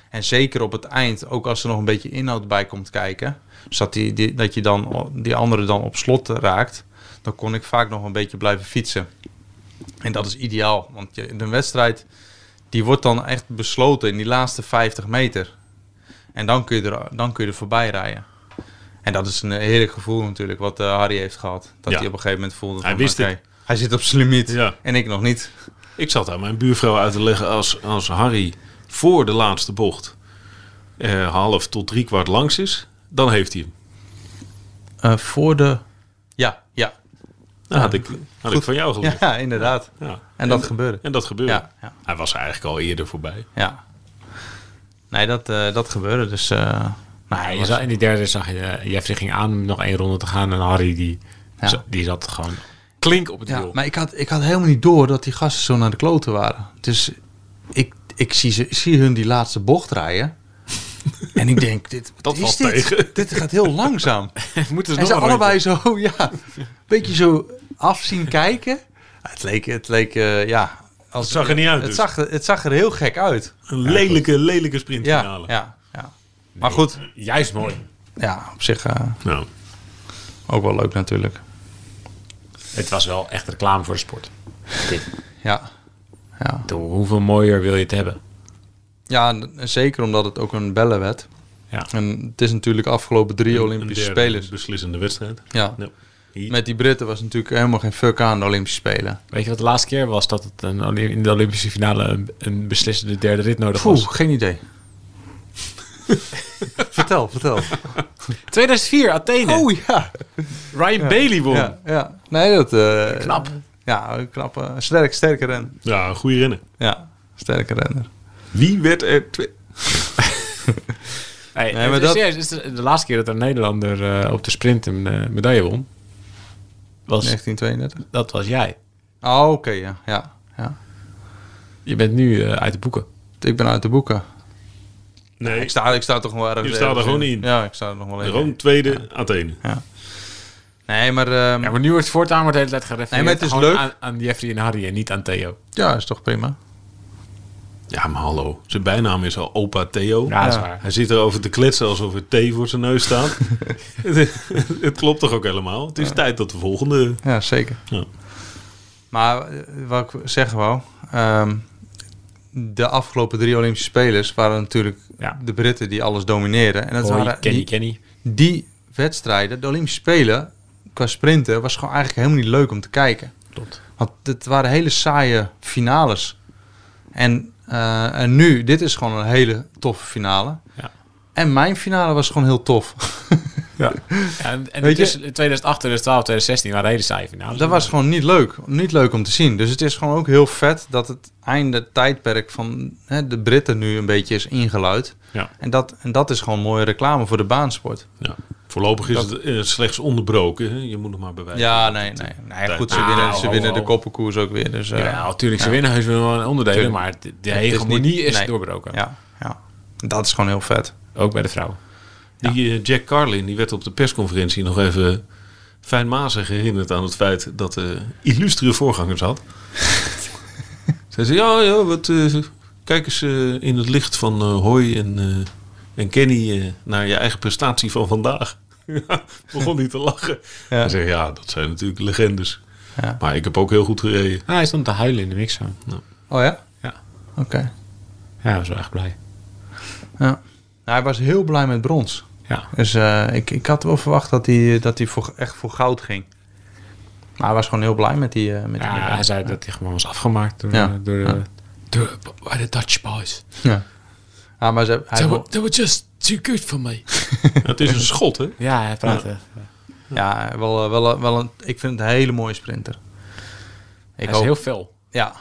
Speaker 2: En zeker op het eind, ook als er nog een beetje inhoud bij komt kijken, dus dat, die, die, dat je dan o- die andere dan op slot raakt, dan kon ik vaak nog een beetje blijven fietsen. En dat is ideaal, want je, een wedstrijd die wordt dan echt besloten in die laatste 50 meter. En dan kun je er, dan kun je er voorbij rijden. En dat is een heerlijk gevoel natuurlijk, wat eh, Harry heeft gehad. Dat
Speaker 1: Ja.
Speaker 2: hij op een gegeven moment voelde
Speaker 1: Hij
Speaker 2: van,
Speaker 1: wist het.
Speaker 2: oké, Hij zit op zijn limiet
Speaker 1: Ja.
Speaker 2: en ik nog niet.
Speaker 1: Ik zat aan mijn buurvrouw uit te leggen als, als Harry voor de laatste bocht eh, half tot drie kwart langs is, dan heeft hij hem.
Speaker 2: Eh, voor de... Ja, ja.
Speaker 1: Dat had ik, had ik
Speaker 2: Goed.
Speaker 1: van jou geleerd.
Speaker 2: Ja, inderdaad.
Speaker 1: Ja.
Speaker 2: En dat gebeurde.
Speaker 1: En dat gebeurde.
Speaker 2: Ja, ja.
Speaker 1: Hij was eigenlijk al eerder voorbij.
Speaker 2: Ja. Nee, dat, eh, dat gebeurde. Dus, eh
Speaker 3: Nee,
Speaker 2: nou,
Speaker 3: je zag- in die derde zag je, eh, Jeffrey ging aan om nog één ronde te gaan. En Harry die,
Speaker 2: Ja.
Speaker 3: za- die zat gewoon klink op het
Speaker 2: ja,
Speaker 3: wiel.
Speaker 2: maar ik had, ik had helemaal niet door dat die gasten zo naar de kloten waren. Dus ik, ik zie, ze, ik zie hun die laatste bocht rijden. En ik denk, dit, wat
Speaker 1: Dat
Speaker 2: is
Speaker 1: valt
Speaker 2: dit?
Speaker 1: tegen.
Speaker 2: Dit gaat heel langzaam.
Speaker 3: Moeten ze
Speaker 2: en
Speaker 3: nog
Speaker 2: ze
Speaker 3: een rondje?
Speaker 2: allebei zo, ja, een beetje zo afzien kijken. Het leek, het leek eh, ja... Als,
Speaker 1: Het zag er niet uit
Speaker 2: Het
Speaker 1: dus.
Speaker 2: zag, er- het zag er heel gek uit.
Speaker 1: Een lelijke, lelijke sprintfinale.
Speaker 2: Ja, ja, ja. Maar goed,
Speaker 3: Juist mooi.
Speaker 2: ja, op zich eh,
Speaker 1: Nou,
Speaker 2: ook wel leuk natuurlijk.
Speaker 3: Het was wel echt reclame voor de sport.
Speaker 2: Ja. Ja.
Speaker 3: Doe, hoeveel mooier wil je het hebben?
Speaker 2: ja, en- en zeker omdat het ook een bellen werd.
Speaker 3: Ja.
Speaker 2: En het is natuurlijk afgelopen drie Olympische
Speaker 1: een derde
Speaker 2: Spelers.
Speaker 1: Beslissende wedstrijd.
Speaker 2: Ja.
Speaker 1: Ja. Hier.
Speaker 2: Met die Britten was natuurlijk helemaal geen fuck aan de Olympische Spelen.
Speaker 3: Weet je wat de laatste keer was dat het een, Olymp- in de Olympische finale een, een beslissende derde rit nodig
Speaker 2: Poeh,
Speaker 3: was?
Speaker 2: geen idee. vertel, vertel.
Speaker 3: 2004, Athene.
Speaker 2: Oh ja.
Speaker 3: Ryan Bailey won.
Speaker 2: ja, ja. Nee, dat... eh, Ja, knap. eh, sterk, sterke renner.
Speaker 1: Ja, een goede rennen.
Speaker 2: Ja, sterke renner.
Speaker 1: Wie werd er... twe-
Speaker 3: Hey,
Speaker 2: Nee, maar
Speaker 3: het is
Speaker 2: dat-
Speaker 3: serieus, het is de laatste keer dat een Nederlander eh, op de sprint een eh, medaille won, was,
Speaker 2: 1932.
Speaker 3: dat was jij.
Speaker 2: Oh, oké, ja, ja, ja.
Speaker 3: Je bent nu eh, uit de boeken.
Speaker 2: Ik ben uit de boeken.
Speaker 1: Nee,
Speaker 2: Ik sta, ik sta toch wel ergens
Speaker 1: Je staat er
Speaker 2: ergens
Speaker 1: gewoon in.
Speaker 2: Ja, ik sta er nog wel in.
Speaker 1: Rome tweede, Athene.
Speaker 2: Nee, maar... ehm,
Speaker 3: Ja, maar nu wordt het voortaan wordt de hele tijd gerefereerd
Speaker 2: Nee, maar het is
Speaker 3: gewoon
Speaker 2: leuk.
Speaker 3: Aan, aan Jeffrey en Harry en niet aan Theo.
Speaker 2: Ja, is toch prima.
Speaker 1: Ja, maar hallo. Zijn bijnaam is al opa Theo.
Speaker 3: Ja, dat is waar.
Speaker 1: Hij zit erover te kletsen alsof er thee voor zijn neus staat. het, het klopt toch ook helemaal? Het is tijd dat de volgende...
Speaker 2: Ja, zeker.
Speaker 1: Ja.
Speaker 2: Maar eh, wat ik zeggen wou... ehm, de afgelopen drie Olympische Spelers waren natuurlijk
Speaker 3: Ja.
Speaker 2: de Britten die alles domineren. En dat
Speaker 3: Hoi,
Speaker 2: waren
Speaker 3: Kenny,
Speaker 2: die,
Speaker 3: Kenny.
Speaker 2: die wedstrijden, de Olympische Spelen, qua sprinten, was gewoon eigenlijk helemaal niet leuk om te kijken.
Speaker 3: Klopt.
Speaker 2: Want het waren hele saaie finales. En, eh, en nu, dit is gewoon een hele toffe finale.
Speaker 3: Ja.
Speaker 2: En mijn finale was gewoon heel tof.
Speaker 3: En, en
Speaker 2: Weet je-
Speaker 3: tussen 2008, 2012, 2016 waren hele saaie finales.
Speaker 2: Dat was gewoon niet leuk. Niet leuk om te zien. Dus het is gewoon ook heel vet dat het einde tijdperk van hè, de Britten nu een beetje is ingeluid.
Speaker 3: Ja.
Speaker 2: En, dat, en dat is gewoon mooie reclame voor de baansport.
Speaker 3: Nou,
Speaker 1: Ja. Voorlopig is het eh, slechts onderbroken. hè. Je moet nog maar bewijzen.
Speaker 2: Ja, nee, nee. nee goed, ze
Speaker 3: Ah,
Speaker 2: winnen, ze
Speaker 3: ho,
Speaker 2: winnen
Speaker 3: ho.
Speaker 2: de koppenkoers ook weer. Dus, eh,
Speaker 3: Ja, natuurlijk, ze winnen heus wel een onderdelen,
Speaker 2: Tuurlijk.
Speaker 3: maar de, de
Speaker 2: Het is
Speaker 3: hegemonie is,
Speaker 2: niet- nee.
Speaker 3: doorbroken.
Speaker 2: ja, ja. Dat is gewoon heel vet.
Speaker 3: Ook bij de vrouwen.
Speaker 1: Die eh, Jack Carlin die werd op de persconferentie nog even fijnmazig herinnerd aan het feit dat de illustere voorgangers had. Zij zei, ja, ja, wat, eh, kijk eens eh, in het licht van eh Hoy en, eh, en Kenny eh, naar je eigen prestatie van vandaag. Begon niet te lachen.
Speaker 2: Ja.
Speaker 1: Hij zei, ja, dat zijn natuurlijk legendes.
Speaker 2: Ja.
Speaker 1: Maar ik heb ook heel goed gereden.
Speaker 3: Ah, hij stond te huilen in de mixzone.
Speaker 2: Oh ja?
Speaker 3: Ja.
Speaker 2: Oké.
Speaker 3: Ja, hij was wel echt blij.
Speaker 2: Ja. Nou, hij was heel blij met brons.
Speaker 3: Ja.
Speaker 2: Dus eh, ik, ik had wel verwacht dat hij, dat hij voor, echt voor goud ging. Maar hij was gewoon heel blij met die... eh, met die
Speaker 3: Ja,
Speaker 2: medaille.
Speaker 3: hij zei dat hij gewoon was afgemaakt door, eh,
Speaker 2: Ja.
Speaker 3: door de, door- by the Dutch boys.
Speaker 2: Ja. Ja, Ah, maar ze, hij,
Speaker 3: They
Speaker 2: wo-
Speaker 3: were, they were just too good for me.
Speaker 1: het is een schot, hè?
Speaker 3: Ja, hij praatte.
Speaker 2: Ja, wel, eh, wel, wel een, ik vind het een hele mooie sprinter. Ik
Speaker 3: Hij is
Speaker 2: hoop,
Speaker 3: heel fel.
Speaker 2: ja,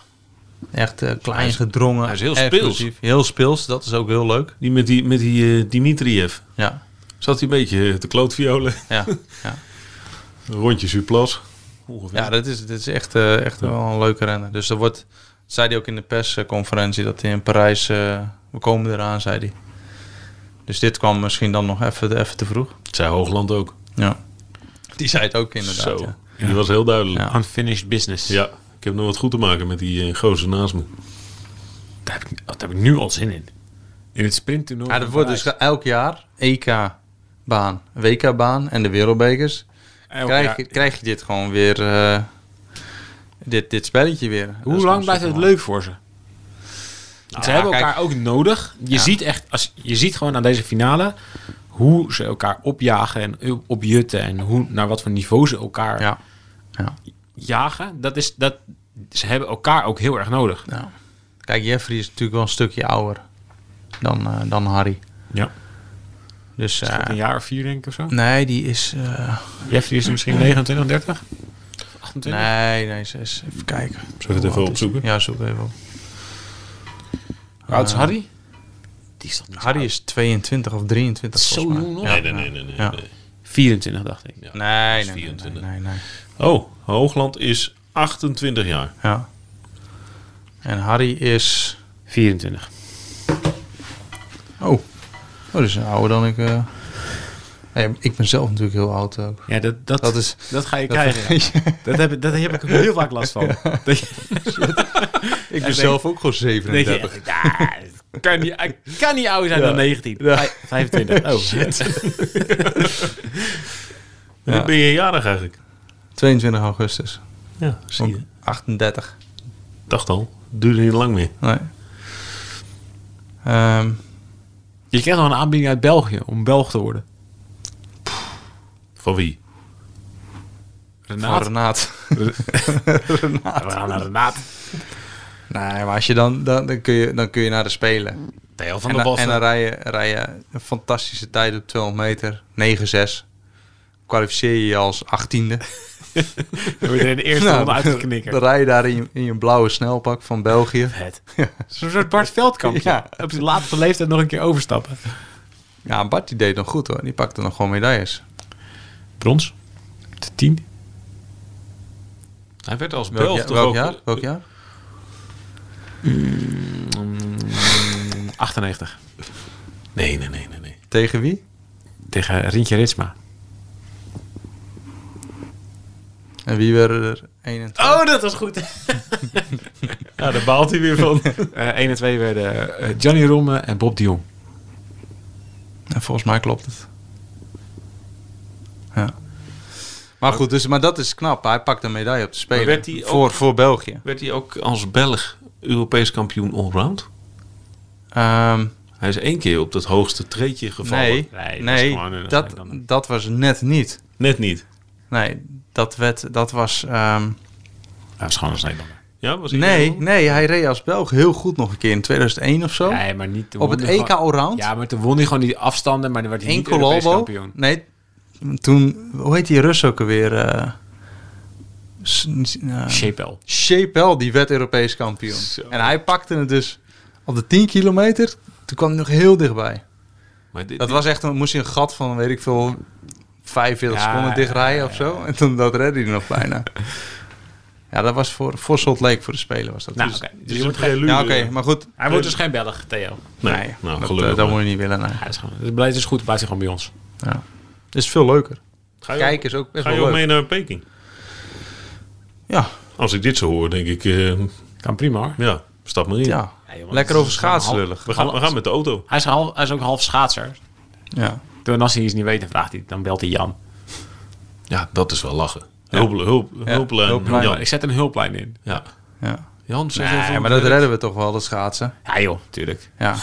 Speaker 2: echt eh, klein
Speaker 1: Hij is-
Speaker 2: gedrongen.
Speaker 1: hij is heel
Speaker 2: erg
Speaker 1: speels.
Speaker 2: agressief, Heel speels, dat is ook heel leuk.
Speaker 1: Die met die, met die eh, Dimitriev.
Speaker 2: Ja,
Speaker 1: Zat hij een beetje eh, te klootviolen.
Speaker 2: ja, ja.
Speaker 1: Rondje Suplas. Ongeveer.
Speaker 2: ja dat, is, dat is echt, eh, echt wel een leuke renner. Dus er wordt, zei hij ook in de persconferentie, dat hij in Parijs, eh, we komen eraan, zei hij. Dus dit kwam misschien dan nog even, even te vroeg.
Speaker 1: Zij Hoogland ook.
Speaker 2: Ja. Die zei het ook inderdaad.
Speaker 1: Zo.
Speaker 2: ja.
Speaker 1: Die was heel duidelijk.
Speaker 2: Ja.
Speaker 1: Ja.
Speaker 3: Unfinished business.
Speaker 1: Ik heb nog wat goed te maken met die eh, gozer naast me.
Speaker 3: Daar heb, ik, daar heb ik nu al zin in. In het sprinttoernooi.
Speaker 2: Ja,
Speaker 3: van
Speaker 2: dat wordt dus
Speaker 3: Parijs.
Speaker 2: elk jaar E EK-baan, WK-baan en de wereldbekers.
Speaker 3: Elk
Speaker 2: krijg,
Speaker 3: jaar.
Speaker 2: krijg je dit gewoon weer, eh, dit, dit spelletje weer. Dat is
Speaker 3: Hoe
Speaker 2: gewoon
Speaker 3: lang blijft het
Speaker 2: super
Speaker 3: leuk voor ze? Want ze
Speaker 2: ja,
Speaker 3: hebben
Speaker 2: kijk-
Speaker 3: elkaar ook nodig. Je,
Speaker 2: Ja.
Speaker 3: ziet echt, als, je ziet gewoon aan deze finale hoe ze elkaar opjagen en opjutten. En hoe, naar wat voor niveau ze elkaar
Speaker 2: Ja.
Speaker 3: jagen. Dat is, dat, ze hebben elkaar ook heel erg nodig.
Speaker 2: Ja. Kijk, Jeffrey is natuurlijk wel een stukje ouder dan, eh, dan Harry.
Speaker 3: Ja.
Speaker 2: Dus eh,
Speaker 3: Een jaar of vier denk ik of zo.
Speaker 2: nee, die is... eh,
Speaker 3: Jeffrey is misschien 29, 30? 28?
Speaker 2: nee, nee, ze is... Even kijken.
Speaker 1: Zullen we het even opzoeken?
Speaker 2: Ja, zoek even op.
Speaker 3: Hoe oud is Harry? Die is toch niet
Speaker 2: Harry is 22 of 23
Speaker 3: Zo
Speaker 2: volgens mij.
Speaker 3: jong nog?
Speaker 2: Ja,
Speaker 1: Nee, nee, nee,
Speaker 2: ja.
Speaker 1: nee. nee,
Speaker 2: Ja.
Speaker 1: nee.
Speaker 3: 24, dacht ik.
Speaker 2: Nee,
Speaker 1: is
Speaker 2: nee, nee, nee,
Speaker 1: 24.
Speaker 2: nee, nee.
Speaker 1: Oh, Hoogland is 28 jaar.
Speaker 2: Ja. En Harry is...
Speaker 3: 24.
Speaker 2: Oh, oh dat is ouder dan ik... eh. Nee, ik ben zelf natuurlijk heel oud ook.
Speaker 3: Ja, dat, dat,
Speaker 2: Dat is-
Speaker 3: dat ga je krijgen. ja. Dat heb, ik- dat heb ik heel vaak last van. Dat je-
Speaker 2: Ik
Speaker 3: ben zelf
Speaker 2: ook gewoon
Speaker 3: Denk je, ja, het kan niet, hij kan niet ouder zijn dan 19. Vij- 25. Oh, shit.
Speaker 1: Hoe ben je jarig eigenlijk?
Speaker 2: 22 augustus.
Speaker 1: Ja, zie je.
Speaker 2: 38.
Speaker 1: Dacht al. Duurde niet lang meer.
Speaker 2: Nee. Ehm,
Speaker 3: Je krijgt nog een aanbieding uit België om Belg te worden.
Speaker 1: Van wie?
Speaker 2: van
Speaker 3: Renaat.
Speaker 2: ah, Renaat.
Speaker 3: We gaan naar Renaat.
Speaker 2: Nee, maar als je dan, dan, dan, kun, je, dan kun je naar de Spelen.
Speaker 3: Theo van
Speaker 2: En,
Speaker 3: der
Speaker 2: dan- en eh, dan
Speaker 3: Bos.
Speaker 2: rij je, rij je een fantastische tijd op 200 meter. 9-6. Kwalificeer je je als 18e.
Speaker 3: We worden in de eerste
Speaker 2: Nou,
Speaker 3: ronde
Speaker 2: Dan
Speaker 3: uitgeknikkerd.
Speaker 2: rij je daar in je, in je blauwe snelpak van België.
Speaker 3: Het. Zo'n soort Bart Veldkamp.
Speaker 2: Ja.
Speaker 3: Op zijn latere leeftijd nog een keer overstappen.
Speaker 2: Ja, Bart die deed nog goed hoor. Die pakte nog gewoon medailles.
Speaker 3: Brons. De 10.
Speaker 1: Hij werd als
Speaker 2: Welk,
Speaker 1: Belg
Speaker 2: ja-
Speaker 1: toch
Speaker 2: welk
Speaker 1: ook...
Speaker 2: jaar? Welk jaar?
Speaker 3: 98.
Speaker 1: Nee, nee, nee, nee. nee.
Speaker 2: Tegen wie?
Speaker 3: Tegen Rintje Ritsma.
Speaker 2: En wie werden er 21?
Speaker 3: Oh, dat was goed.
Speaker 1: Ja, daar baalt hij weer van.
Speaker 3: Eh 1 en 2 werden eh, Johnny Romme en Bob de Jong.
Speaker 2: En volgens mij klopt het. Ja. Maar goed, dus, maar dat is knap. Hij pakt een medaille op de Spelen.
Speaker 1: werd hij ook-
Speaker 2: voor, voor België.
Speaker 1: werd hij ook als Belg Europees kampioen allround?
Speaker 2: Ehm,
Speaker 1: Hij is één keer op dat hoogste treetje gevallen.
Speaker 2: nee,
Speaker 3: Nee,
Speaker 2: nee,
Speaker 3: dat is gewoon een-
Speaker 2: dat, dat was net niet.
Speaker 1: Net niet.
Speaker 2: Nee, dat, werd, dat was... ehm,
Speaker 3: Dat is gewoon een Nederlander.
Speaker 1: Ja, was hij
Speaker 2: nee,
Speaker 1: wel?
Speaker 2: nee, hij reed als Belg heel goed nog een keer in 2001 of zo.
Speaker 3: Nee, maar niet... toen
Speaker 2: op het E
Speaker 3: won hij
Speaker 2: EK
Speaker 3: gewoon-
Speaker 2: Allround.
Speaker 3: Ja, maar toen won hij gewoon die afstanden, maar dan werd hij
Speaker 2: in
Speaker 3: niet Europees
Speaker 2: Colombo.
Speaker 3: kampioen.
Speaker 2: Nee, toen... Hoe heet die Rus ook alweer? eh S- s- eh,
Speaker 3: Chapel.
Speaker 2: Chapelle, die werd Europees kampioen. En hij pakte het dus op de 10 kilometer. Toen kwam hij nog heel dichtbij.
Speaker 1: Maar dit,
Speaker 2: Dat was echt, een, moest hij een gat van, weet ik veel, 45
Speaker 3: Ja,
Speaker 2: seconden
Speaker 3: ja,
Speaker 2: dichtrijden of zo. En toen dat redde hij nog bijna. ja, dat was voor, voor Salt Lake, voor de Spelen was dat.
Speaker 3: Nou,
Speaker 2: Dus-
Speaker 3: oké.
Speaker 1: dit
Speaker 3: Dus
Speaker 1: is
Speaker 3: je
Speaker 1: een
Speaker 3: wordt geen-
Speaker 1: prelude.
Speaker 2: ja, oké, maar goed.
Speaker 3: hij wordt dus geen Belg, Theo.
Speaker 1: Nee,
Speaker 2: Nee,
Speaker 1: nou,
Speaker 2: dat,
Speaker 1: gelukkig
Speaker 2: eh, dat
Speaker 1: maar.
Speaker 2: moet je niet willen. Nee.
Speaker 3: Ja, dat is gewoon... Het blijft dus goed, blijft hij gewoon bij ons.
Speaker 2: Ja. Dat is veel leuker.
Speaker 1: Ga je ook-
Speaker 2: Kijken is ook best
Speaker 1: Ga je
Speaker 2: wel
Speaker 1: ook
Speaker 2: leuk.
Speaker 1: mee naar Peking?
Speaker 2: Ja,
Speaker 1: Als ik dit zo hoor, denk ik... eh,
Speaker 3: Kan prima hoor.
Speaker 1: ja, stap maar in.
Speaker 2: ja.
Speaker 3: Ja, jongen,
Speaker 2: lekker
Speaker 3: dat
Speaker 2: over
Speaker 3: is gewoon
Speaker 2: schaatsen
Speaker 3: half-
Speaker 2: lullen.
Speaker 1: We, gaan, we gaan met de auto.
Speaker 3: Hij is, half, hij is ook half schaatser.
Speaker 2: Ja.
Speaker 3: Toen als hij iets niet weet, dan vraagt hij, dan belt hij Jan.
Speaker 1: Ja, dat is wel lachen. Hulp, hulp, hulplijn.
Speaker 2: hulplijn.
Speaker 1: Jan.
Speaker 3: Ik zet een hulplijn in.
Speaker 1: Ja.
Speaker 2: ja.
Speaker 1: Jan, zeg
Speaker 3: Nee,
Speaker 1: even-
Speaker 2: maar dat redden we toch wel, dat schaatsen.
Speaker 3: Ja joh, tuurlijk.
Speaker 2: Ja.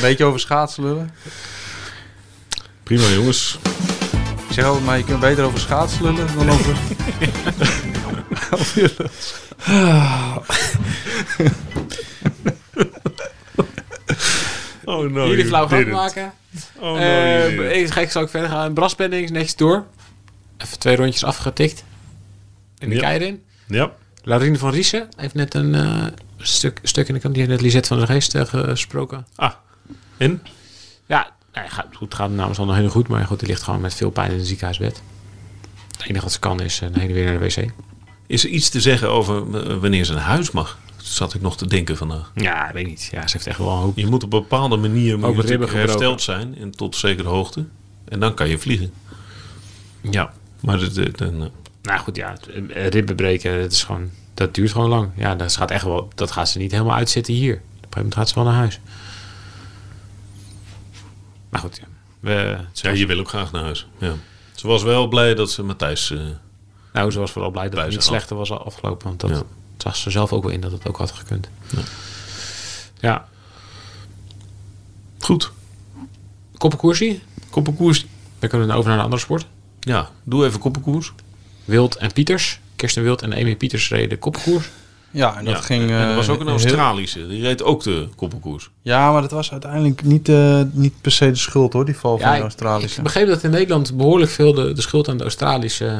Speaker 2: Beetje over schaatsen lullen.
Speaker 1: Prima jongens.
Speaker 2: Ik zeg altijd maar, je kunt beter over schaats lullen dan over...
Speaker 1: Oh, no,
Speaker 3: Jullie
Speaker 1: you
Speaker 3: flauw gaan
Speaker 1: didn't.
Speaker 3: maken.
Speaker 1: Oh, no, you
Speaker 3: Eh,
Speaker 1: didn't.
Speaker 3: ik, ga ik zal ook verder gaan. Brassbendings, netjes door. Even twee rondjes afgetikt. En de
Speaker 1: Ja.
Speaker 3: kei erin.
Speaker 1: Ja.
Speaker 3: Larine van Riesen heeft net een eh, stuk, stuk in de kant. Die heeft net Lisette van der Geest eh, gesproken.
Speaker 1: Ah. En?
Speaker 3: Ja, nou, ja, gaat, goed, gaat namens al nog heel goed. Maar goed, die ligt gewoon met veel pijn in het ziekenhuisbed. Het enige wat ze kan is eh, een hele weer naar de wc.
Speaker 1: Is er iets te zeggen over eh, wanneer ze naar huis mag? Dat zat ik nog te denken vandaag.
Speaker 3: Ja, ik weet niet. Ja, ze heeft echt wel een hoop.
Speaker 1: Je moet op een bepaalde manier moet
Speaker 3: Ook
Speaker 1: je
Speaker 3: ribben
Speaker 1: natuurlijk hersteld
Speaker 3: gebroken.
Speaker 1: zijn. En tot zekere hoogte. En dan kan je vliegen.
Speaker 3: Ja.
Speaker 1: Maar dat, eh, dan, eh,
Speaker 3: Nou goed, ja. het, eh, Ribben breken, dat, is gewoon, dat duurt gewoon lang. Ja, dat gaat, echt wel, dat gaat ze niet helemaal uitzetten hier. Op een gegeven moment gaat ze wel naar huis. Maar goed, ja. We,
Speaker 1: ja, je wil ook graag naar huis. Ja. Ze was wel blij dat ze Matthijs... eh,
Speaker 3: nou, ze was vooral blij dat
Speaker 1: Bij
Speaker 3: het niet
Speaker 1: zich af.
Speaker 3: slechter was al afgelopen. Want dat
Speaker 1: Ja.
Speaker 3: zag ze zelf ook wel in dat het ook had gekund. Ja.
Speaker 1: goed,
Speaker 3: Koppenkoersie.
Speaker 1: koppenkoers.
Speaker 3: Dan kunnen we over naar een andere sport.
Speaker 1: Ja, doe even koppenkoers.
Speaker 3: Wild en Pieters. Kirsten Wild en Amy Pieters reden koppenkoers.
Speaker 2: Ja, en dat
Speaker 1: ja.
Speaker 2: ging...
Speaker 1: en er was
Speaker 2: eh,
Speaker 1: ook een
Speaker 2: heel-
Speaker 1: Australische. Die reed ook de koppenkoers.
Speaker 2: Ja, maar dat was uiteindelijk niet, eh, niet per se de schuld hoor, die val van de Australische.
Speaker 3: Ik begreep dat in Nederland behoorlijk veel de, de schuld aan de Australische, eh,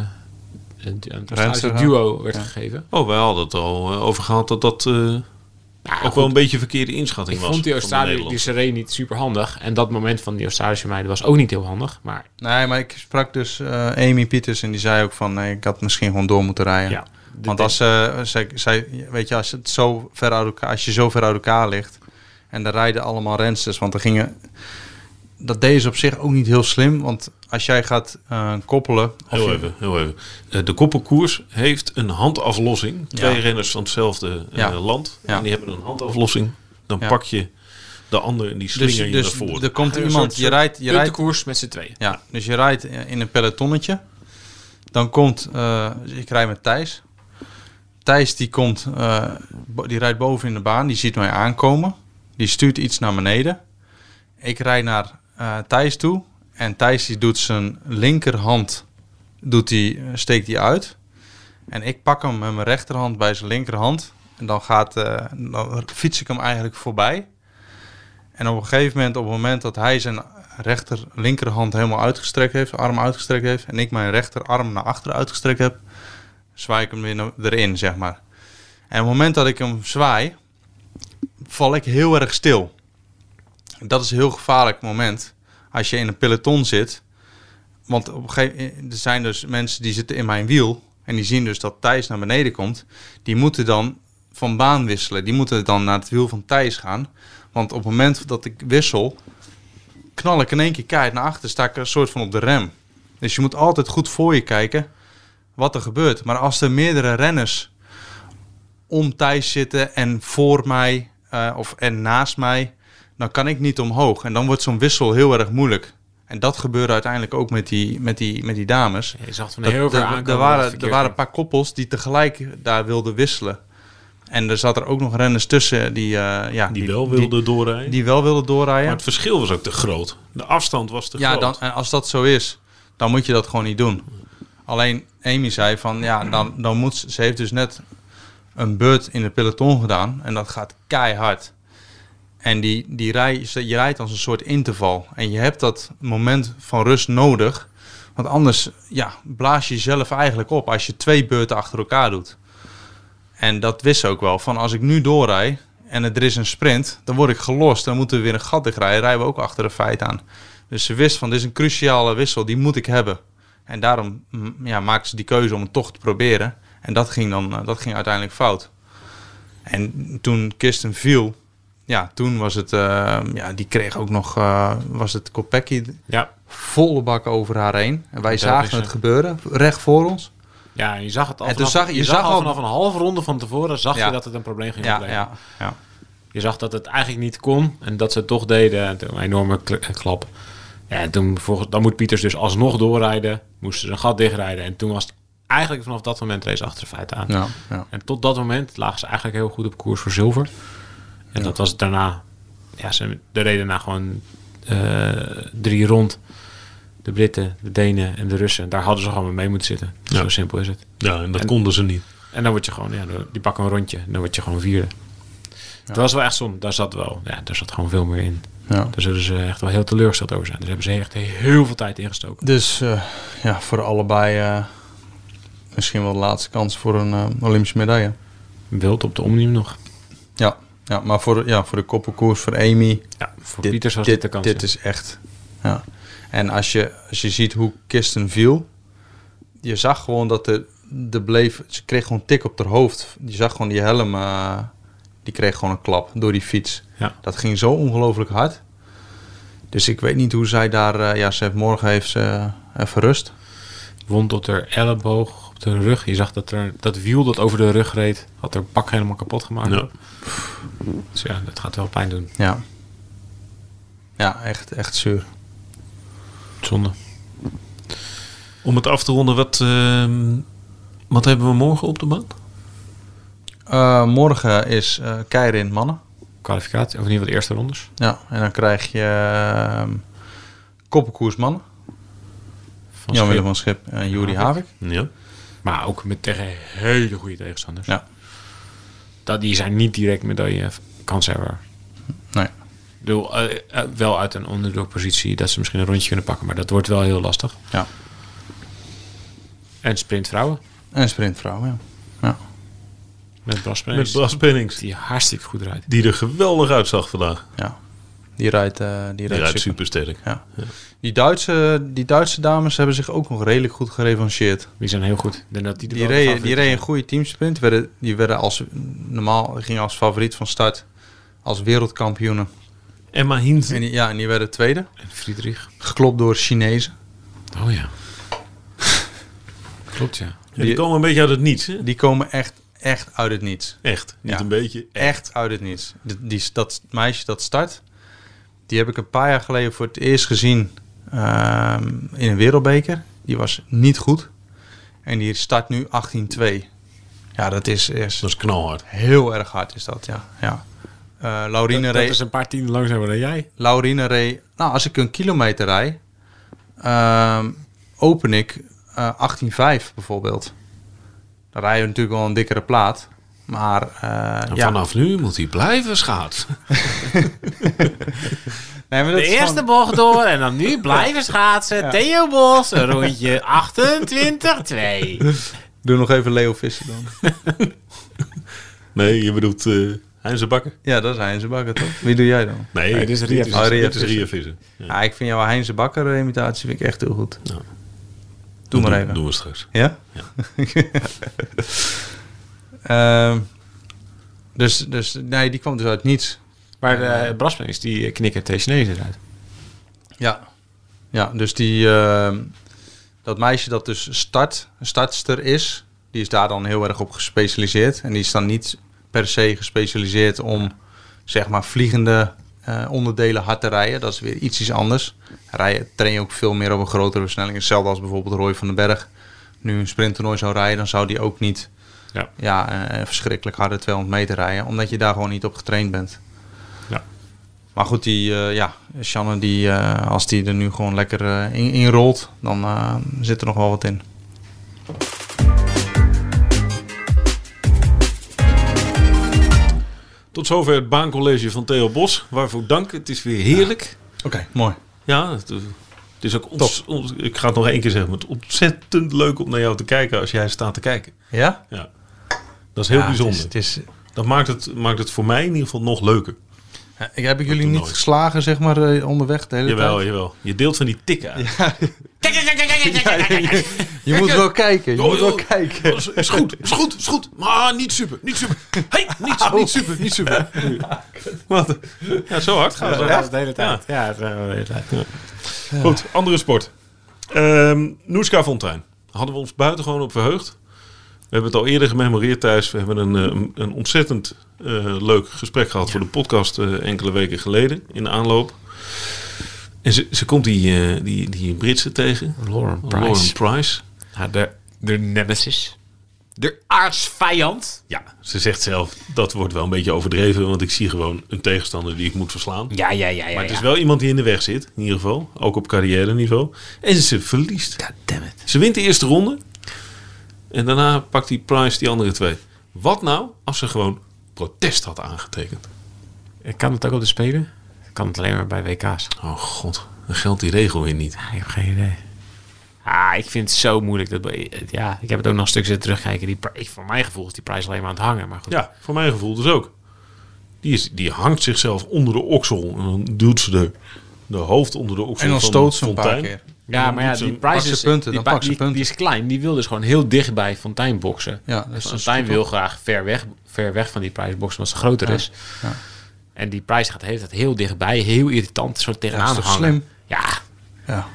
Speaker 3: aan het Australische
Speaker 2: Renster,
Speaker 3: duo werd
Speaker 2: ja.
Speaker 3: gegeven.
Speaker 1: Oh, wij hadden het er al eh, over gehad dat dat eh,
Speaker 3: Nou,
Speaker 1: ook
Speaker 3: goed,
Speaker 1: wel een beetje verkeerde inschatting
Speaker 3: ik
Speaker 1: was.
Speaker 3: vond die
Speaker 1: van de
Speaker 3: Australië, die
Speaker 1: Nederlanders.
Speaker 3: Serene niet super handig. En dat moment van die Australische meiden was ook niet heel handig. Maar
Speaker 2: Nee, maar ik sprak dus eh, Amy Pieters en die zei ook van... Nee, ik had misschien gewoon door moeten rijden.
Speaker 3: ja, de-
Speaker 2: Want als, eh, zij, zij, weet je, als, het zo ver uit elkaar, als je zo ver uit elkaar ligt... en dan rijden allemaal rensters, want er gingen... Dat deden ze op zich ook niet heel slim, want als jij gaat eh, koppelen... of
Speaker 1: Heel
Speaker 2: je-
Speaker 1: even, heel even. Eh, De koppenkoers heeft een handaflossing. Twee
Speaker 2: Ja.
Speaker 1: renners van hetzelfde eh,
Speaker 2: Ja.
Speaker 1: land.
Speaker 2: Ja.
Speaker 1: En die hebben een handaflossing. Dan
Speaker 2: Ja.
Speaker 1: pak je de ander en die slinger
Speaker 2: Dus,
Speaker 1: je
Speaker 2: dus
Speaker 1: naar voren.
Speaker 2: er komt iemand, je rijdt... Je rijdt
Speaker 3: puntenkoers met z'n tweeën.
Speaker 2: Ja, dus je rijdt in een pelotonnetje. Dan komt, eh, ik rijd met Thijs. Thijs die komt, eh, bo- die rijdt boven in de baan, die ziet mij aankomen. Die stuurt iets naar beneden. Ik rijd naar eh, Thijs toe en Thijs die doet zijn linkerhand, doet die, eh, steekt die uit. En ik pak hem met mijn rechterhand bij zijn linkerhand. En dan, gaat, eh, dan fiets ik hem eigenlijk voorbij. En op een gegeven moment, op het moment dat hij zijn rechter, linkerhand helemaal uitgestrekt heeft, zijn arm uitgestrekt heeft, en ik mijn rechterarm naar achteren uitgestrekt heb, zwaai ik hem weer naar- erin, zeg maar. En op het moment dat ik hem zwaai, val ik heel erg stil. Dat is een heel gevaarlijk moment als je in een peloton zit. Want op een gegeven moment er zijn dus mensen die zitten in mijn wiel en die zien dus dat Thijs naar beneden komt. Die moeten dan van baan wisselen. Die moeten dan naar het wiel van Thijs gaan. Want op het moment dat ik wissel, knal ik in één keer keihard naar achter, sta ik een soort van op de rem. Dus je moet altijd goed voor je kijken wat er gebeurt. Maar als er meerdere renners om Thijs zitten en voor mij eh, of en naast mij, dan kan ik niet omhoog. En dan wordt zo'n wissel heel erg moeilijk. En dat gebeurde uiteindelijk ook met die, met die, met die dames.
Speaker 3: Je zag van
Speaker 2: Dat-
Speaker 3: heel veel
Speaker 2: er-
Speaker 3: aankomen.
Speaker 2: er,
Speaker 3: dat het
Speaker 2: waren, er
Speaker 3: verkeerd
Speaker 2: waren een
Speaker 3: ging.
Speaker 2: paar koppels die tegelijk daar wilden wisselen. En er zat er ook nog renners tussen die, eh, ja,
Speaker 1: die wel wilde doorrijden.
Speaker 2: die, die wel wilden doorrijden.
Speaker 1: maar het verschil was ook te groot. De afstand was te
Speaker 2: Ja,
Speaker 1: groot.
Speaker 2: dan, en als dat zo is, dan moet je dat gewoon niet doen. Alleen Amy zei van ja, dan, dan moet ze, ze heeft dus net een beurt in de peloton gedaan en dat gaat keihard. En die, die rij, ze- je rijdt als een soort interval. En je hebt dat moment van rust nodig. Want anders ja, blaas je jezelf eigenlijk op als je twee beurten achter elkaar doet. En dat wist ze ook wel. Van als ik nu doorrij en er is een sprint, dan word ik gelost. Dan moeten we weer een gat dichtrijden. Rijden we ook achter de feit aan. Dus ze wist van dit is een cruciale wissel, die moet ik hebben. En daarom mm, ja, maakte ze die keuze om het toch te proberen. En dat ging dan eh, dat ging uiteindelijk fout. En toen Kirsten viel, ja, toen was het, eh, ja, die kreeg ook nog, eh, was het Kopecky
Speaker 3: Ja.
Speaker 2: volle bak over haar heen. En wij zagen
Speaker 3: is,
Speaker 2: het gebeuren, recht voor ons.
Speaker 3: ja, en je zag het al
Speaker 2: En toen
Speaker 3: vanaf,
Speaker 2: zag-
Speaker 3: je
Speaker 2: je
Speaker 3: zag
Speaker 2: zag
Speaker 3: al
Speaker 2: al-
Speaker 3: vanaf een halve ronde van tevoren zag
Speaker 2: Ja.
Speaker 3: je dat het een probleem ging
Speaker 2: Ja,
Speaker 3: opleveren.
Speaker 2: ja, ja.
Speaker 3: Je zag dat het eigenlijk niet kon en dat ze het toch deden. En toen een enorme kl- klap. Ja, en toen vervolgens- dan moet Pieters dus alsnog doorrijden. Moesten ze een gat dichtrijden. En toen was het eigenlijk vanaf dat moment race achter de feiten aan.
Speaker 2: ja, ja.
Speaker 3: En tot dat moment lagen ze eigenlijk heel goed op koers voor zilver. En dat was daarna... Ja, ze de reden na gewoon eh, drie rond. De Britten, de Denen en de Russen. Daar hadden ze gewoon mee moeten zitten.
Speaker 1: Ja.
Speaker 3: Zo simpel is het.
Speaker 1: ja, en dat konden ze niet.
Speaker 3: En dan word je gewoon, ja, dan- die pakken een rondje. En dan word je gewoon vierde. Dat was wel echt zonde. Daar zat wel, ja, daar zat gewoon veel meer in.
Speaker 2: Ja.
Speaker 3: Daar zullen ze echt wel heel teleurgesteld over zijn. Daar hebben ze echt heel veel tijd in gestoken.
Speaker 2: Dus eh, ja, voor allebei eh, misschien wel de laatste kans voor een eh, Olympische medaille.
Speaker 3: Wild op de Omnium nog.
Speaker 2: Ja, ja maar voor, ja, voor de koppelkoers, voor Amy.
Speaker 3: Ja, voor
Speaker 2: dit,
Speaker 3: Pieters was dit,
Speaker 2: dit,
Speaker 3: de kans.
Speaker 2: dit is echt. Ja. En als je, als je ziet hoe Kirsten viel, je zag gewoon dat de, de bleef. Ze kreeg gewoon tik op haar hoofd. Je zag gewoon die helm, eh, die kreeg gewoon een klap door die fiets.
Speaker 3: Ja.
Speaker 2: Dat ging zo ongelooflijk hard. Dus ik weet niet hoe zij daar. eh, ja, ze heeft, morgen heeft ze eh, even rust.
Speaker 3: Wond op haar elleboog, op de rug. Je zag dat er, dat wiel dat over de rug reed, had haar pak helemaal kapot gemaakt.
Speaker 1: Ja.
Speaker 3: Dus ja, dat gaat wel pijn doen.
Speaker 2: Ja. Ja, echt, echt zuur.
Speaker 3: Zonde.
Speaker 1: Om het af te ronden, wat, ehm, wat hebben we morgen op de baan?
Speaker 2: Eh, morgen is eh keirin in mannen.
Speaker 3: Kwalificatie, of in ieder geval de eerste rondes.
Speaker 2: Ja, en dan krijg je ehm koppenkoers mannen.
Speaker 3: Van
Speaker 2: Jan-Willem
Speaker 3: Schip.
Speaker 2: van Schip en Juri
Speaker 3: Havik.
Speaker 2: Havik.
Speaker 1: Ja.
Speaker 3: Maar ook met tegen hele goede tegenstanders.
Speaker 2: Ja.
Speaker 3: Dat, die zijn niet direct medaille kanshebber.
Speaker 2: Nee.
Speaker 3: Ik bedoel, eh, eh, wel uit een onderdokpositie dat ze misschien een rondje kunnen pakken, maar dat wordt wel heel lastig.
Speaker 2: Ja.
Speaker 3: En sprintvrouwen
Speaker 2: En sprintvrouw, ja. ja.
Speaker 3: met Bas Sprengs,
Speaker 1: Met Bas Pennings.
Speaker 3: die hartstikke goed rijdt.
Speaker 1: Die er geweldig uitzag vandaag.
Speaker 2: ja. Die rijdt, eh, die
Speaker 1: Die
Speaker 2: rijdt
Speaker 1: rijdt
Speaker 2: super.
Speaker 1: supersterk.
Speaker 2: Die Duitse, die Duitse dames hebben zich ook nog redelijk goed gerevancheerd.
Speaker 3: Die zijn heel goed. Ik denk dat die de
Speaker 2: Die
Speaker 3: wel de
Speaker 2: reden, die
Speaker 3: favoriet
Speaker 2: reden een
Speaker 3: zijn.
Speaker 2: goede teamsprint. Werden, die werden als, normaal gingen als favoriet van start. Als wereldkampioenen.
Speaker 1: Emma
Speaker 2: En
Speaker 1: Hintz.
Speaker 2: die, ja, en die werden tweede.
Speaker 3: En Friedrich.
Speaker 2: Geklopt door Chinezen.
Speaker 3: Oh ja. Klopt ja.
Speaker 1: Die komen een beetje uit het niets. Hè?
Speaker 2: Die komen echt, echt uit het niets.
Speaker 1: Echt. Niet
Speaker 2: Ja.
Speaker 1: een beetje.
Speaker 2: Echt uit het niets. Die, die, dat meisje dat start, die heb ik een paar jaar geleden voor het eerst gezien ehm, in een wereldbeker. Die was niet goed. En die start nu 18-2. Ja, dat is, is
Speaker 1: Dat is knalhard.
Speaker 2: heel erg hard, is dat, ja. ja. Eh, Laurine
Speaker 3: Dat,
Speaker 2: reed-
Speaker 3: is een paar tienden langzamer dan jij.
Speaker 2: Laurine reed... Nou, als ik een kilometer rijd, ehm, open ik eh 18,5 bijvoorbeeld. Dan rij je natuurlijk wel een dikkere plaat. Maar eh,
Speaker 1: En
Speaker 2: ja.
Speaker 1: vanaf nu moet hij blijven schaatsen.
Speaker 2: Nee, maar dat
Speaker 3: De
Speaker 2: is gewoon-
Speaker 3: eerste bocht door en dan nu blijven schaatsen. Theo Bos, rondje 28-2.
Speaker 2: Doe nog even Leo Visser dan.
Speaker 1: Nee, je bedoelt eh Heinze Bakker.
Speaker 2: ja, dat is Heinze Bakker toch? Wie doe jij dan?
Speaker 1: Nee,
Speaker 3: dit is Ria
Speaker 2: Visser.
Speaker 1: Dit is
Speaker 2: Oh, Ria
Speaker 1: Ria Visser. Ja.
Speaker 2: Ja, ik vind jouw Heinze Bakker imitatie vind ik echt heel goed.
Speaker 1: Ja.
Speaker 2: Doe maar
Speaker 1: Doen-
Speaker 2: even.
Speaker 1: Doen we straks.
Speaker 2: Ja? Ehm, dus, dus, nee, die kwam dus uit niets.
Speaker 3: Maar de Brasmens, die eh, knikken tegen Chinezen uit.
Speaker 2: Ja. Ja, dus die, ehm, dat meisje dat dus start, startster is, die is daar dan heel erg op gespecialiseerd. En die is dan niet per se gespecialiseerd om, zeg maar, vliegende eh, onderdelen hard te rijden. Dat is weer iets iets anders. Rijden, train je ook veel meer op een grotere versnelling. Hetzelfde als bijvoorbeeld Roy van den Berg nu een sprinttoernooi zou rijden, dan zou die ook niet
Speaker 3: Ja.
Speaker 2: Ja, eh, verschrikkelijk harde 200 meter rijden, omdat je daar gewoon niet op getraind bent.
Speaker 3: Ja.
Speaker 2: Maar goed, die, eh, ja, Shannon, die, eh, als die er nu gewoon lekker eh, in, in rolt, dan eh, zit er nog wel wat in.
Speaker 1: Tot zover het baancollege van Theo Bos. Waarvoor dank. Het is weer heerlijk.
Speaker 2: Oké, mooi.
Speaker 1: Ja, het, eh, het is ook ons, ons- Ik ga het nog één keer zeggen. maar Het is ontzettend leuk om naar jou te kijken als jij staat te kijken.
Speaker 2: Ja?
Speaker 1: Ja. Dat is heel
Speaker 2: Ja,
Speaker 1: bijzonder.
Speaker 2: Het is, het is,
Speaker 1: Dat maakt het, maakt het voor mij in ieder geval nog leuker.
Speaker 2: eh, ik heb ik jullie
Speaker 1: toernooi.
Speaker 2: niet geslagen, zeg maar, eh, onderweg de hele
Speaker 1: Jawel,
Speaker 2: tijd?
Speaker 1: jawel. Je deelt van die tikken uit.
Speaker 2: Je moet wel kijken, je
Speaker 1: Oh,
Speaker 2: moet wel
Speaker 1: joh.
Speaker 2: kijken.
Speaker 1: Is, is goed, is goed, is goed. Maar niet super, niet super. Hey, niet, niet super, niet super. Wat? Ja, zo hard gaan ze.
Speaker 3: de hele tijd. Ja, eh, dat de hele tijd.
Speaker 1: Goed, andere sport. Ehm Noeska Fontijn. Hadden we ons buitengewoon op verheugd. We hebben het al eerder gememoreerd, Thijs. We hebben een, eh, een ontzettend eh, leuk gesprek gehad voor de podcast eh, enkele weken geleden. In de aanloop. En ze, ze komt die, eh, die, die Britse tegen.
Speaker 3: Lauren Price.
Speaker 1: Lauren Price.
Speaker 3: Ja, de, de nemesis. De aardsvijand.
Speaker 1: Ja, ze zegt zelf, dat wordt wel een beetje overdreven, want ik zie gewoon een tegenstander die ik moet verslaan.
Speaker 3: Ja, ja, ja. ja
Speaker 1: maar het is wel iemand die in de weg zit, in ieder geval. Ook op carrière niveau. En ze verliest.
Speaker 3: Goddammit.
Speaker 1: Ze wint de eerste ronde. En daarna pakt die Price die andere twee. Wat nou als ze gewoon protest had aangetekend?
Speaker 3: Kan het ook op de spelen? kan het alleen maar bij WK's.
Speaker 1: Oh god, dan geldt die regel weer niet.
Speaker 3: Ja, ik heb geen idee. Ah, ik vind het zo moeilijk. Dat, ja, ik heb het ook nog een stuk zitten terugkijken. Die, pri- ik, voor mijn gevoel is die prijs alleen maar aan het hangen. Maar goed.
Speaker 1: Ja, voor mijn gevoel dus ook. Die, is, die hangt zichzelf onder de oksel en dan duwt ze de, de hoofd onder de oksel
Speaker 2: En dan
Speaker 1: van
Speaker 2: stoot ze een
Speaker 1: Fontein.
Speaker 2: paar keer.
Speaker 3: Ja,
Speaker 1: Dan
Speaker 3: maar ja,
Speaker 1: moet ze-
Speaker 3: die
Speaker 2: pak
Speaker 3: prijs
Speaker 2: ze
Speaker 3: is,
Speaker 2: punten,
Speaker 3: die,
Speaker 2: dan pak ze
Speaker 3: die,
Speaker 2: punten.
Speaker 3: die is klein. Die wil dus gewoon heel dicht bij Fontijn boksen.
Speaker 2: Ja, dat is-
Speaker 3: dus
Speaker 2: dat is
Speaker 3: Fontijn
Speaker 2: goed,
Speaker 3: wil graag ver weg, ver weg van die prijs boksen, omdat ze groter is.
Speaker 2: ja.
Speaker 3: En die prijs gaat de hele tijd heel dichtbij, heel irritant, zo tegenaan
Speaker 2: Ja, dat is toch
Speaker 3: hangen.
Speaker 2: slim?
Speaker 3: Ja,
Speaker 2: Ja.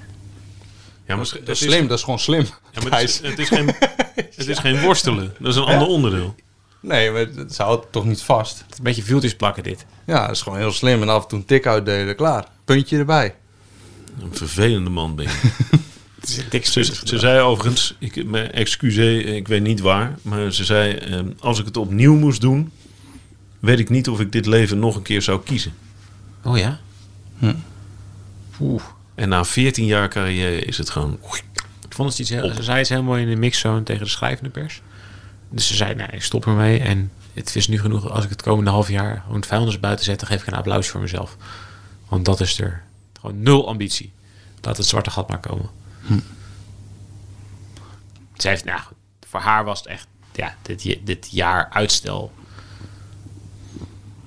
Speaker 1: Ja, maar
Speaker 2: Dat is slim, dat is gewoon slim.
Speaker 1: Ja, maar het, is, het, is geen, het is geen worstelen. Dat is een ander onderdeel.
Speaker 2: Nee, maar het ze houdt toch niet vast.
Speaker 3: het is een beetje wieltjes plakken dit.
Speaker 2: Ja, dat is gewoon heel slim. En af en toe een tik uitdelen, klaar. Puntje erbij.
Speaker 1: Een vervelende man ben je.
Speaker 3: Het is een dik
Speaker 1: Ze,
Speaker 3: stuk.
Speaker 1: ze zei overigens, ik, mijn excuseer, ik weet niet waar, maar ze zei, ehm, als ik het opnieuw moest doen, weet ik niet of ik dit leven nog een keer zou kiezen.
Speaker 3: Oh ja?
Speaker 2: Hm.
Speaker 3: Oeh.
Speaker 1: En na 14 jaar carrière is het gewoon...
Speaker 3: Ik vond het iets heel, ze zei het helemaal in de mixzone tegen de schrijvende pers. Dus ze zei, nee, ik stop ermee. En het is nu genoeg als ik het komende half jaar gewoon het vuilnis buiten zet, dan geef ik een applaus voor mezelf. Want dat is er. Gewoon nul ambitie. Laat het zwarte gat maar komen. Ze heeft, nou goed, voor haar was het echt, ja, dit, je- dit jaar uitstel.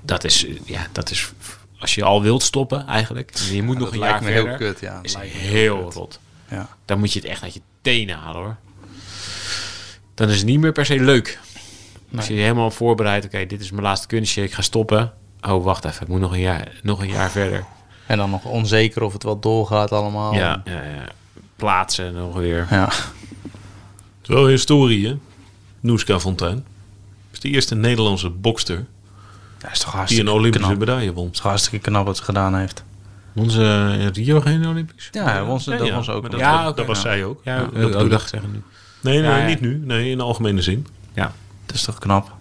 Speaker 3: Dat is, eh, ja, dat is, als je al wilt stoppen eigenlijk. en Je moet nog
Speaker 2: dat
Speaker 3: een
Speaker 2: lijkt
Speaker 3: jaar
Speaker 2: me heel
Speaker 3: verder.
Speaker 2: kut, ja. Dat
Speaker 3: Is
Speaker 2: lijkt me
Speaker 3: heel rot
Speaker 2: Ja.
Speaker 3: dan moet je het echt uit je tenen halen hoor. Dan is het niet meer per se leuk. Als je je helemaal voorbereidt, oké, dit is mijn laatste kunstje, ik ga stoppen. Oh, wacht even, ik moet nog een jaar, nog een jaar verder.
Speaker 2: En dan nog onzeker of het wel doorgaat allemaal.
Speaker 3: Ja, ja, ja. plaatsen nog weer.
Speaker 2: Ja.
Speaker 1: Het is wel historie, hè? Noeska Fontijn. is de eerste Nederlandse bokster
Speaker 2: Dat is toch
Speaker 1: die
Speaker 2: hartstikke
Speaker 1: een Olympische
Speaker 2: knap.
Speaker 1: medaille won.
Speaker 2: is toch hartstikke knap wat ze gedaan heeft.
Speaker 3: Onze
Speaker 2: eh,
Speaker 3: Rio geen Olympisch?
Speaker 2: Ja, hij won ze, dat
Speaker 1: ja,
Speaker 2: was ook.
Speaker 1: maar
Speaker 2: wel.
Speaker 1: dat,
Speaker 3: Ja,
Speaker 1: dat
Speaker 3: oké,
Speaker 1: was
Speaker 3: nou.
Speaker 1: zij ook.
Speaker 3: Ja,
Speaker 1: dat
Speaker 3: dat
Speaker 1: bedoel ik.
Speaker 3: dacht zeggen nu.
Speaker 1: Nee, nee
Speaker 3: Ja, ja.
Speaker 1: niet nu. Nee, in de algemene zin.
Speaker 3: Ja.
Speaker 2: Dat is toch knap.